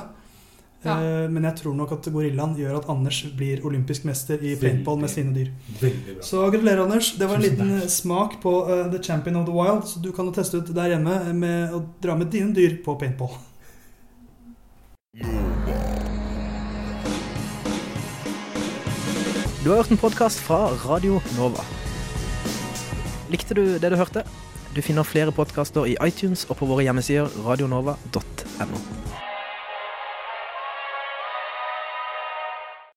Speaker 2: Eh, Men jeg tror nok at gorillaen gjør at Anders blir olympisk mester i paintball med sine dyr.
Speaker 3: Veldig bra.
Speaker 2: Så gratulerer, Anders. Det var en liten eh, smak på eh, The Champion of the Wild. Så du kan jo teste ut der hjemme med å dra med dine dyr på paintball.
Speaker 12: Du har hørt en podkast fra Radio Nova. Likte du det du hørte? Du finner flere podkaster i iTunes og på våre hjemmesider radionova.no.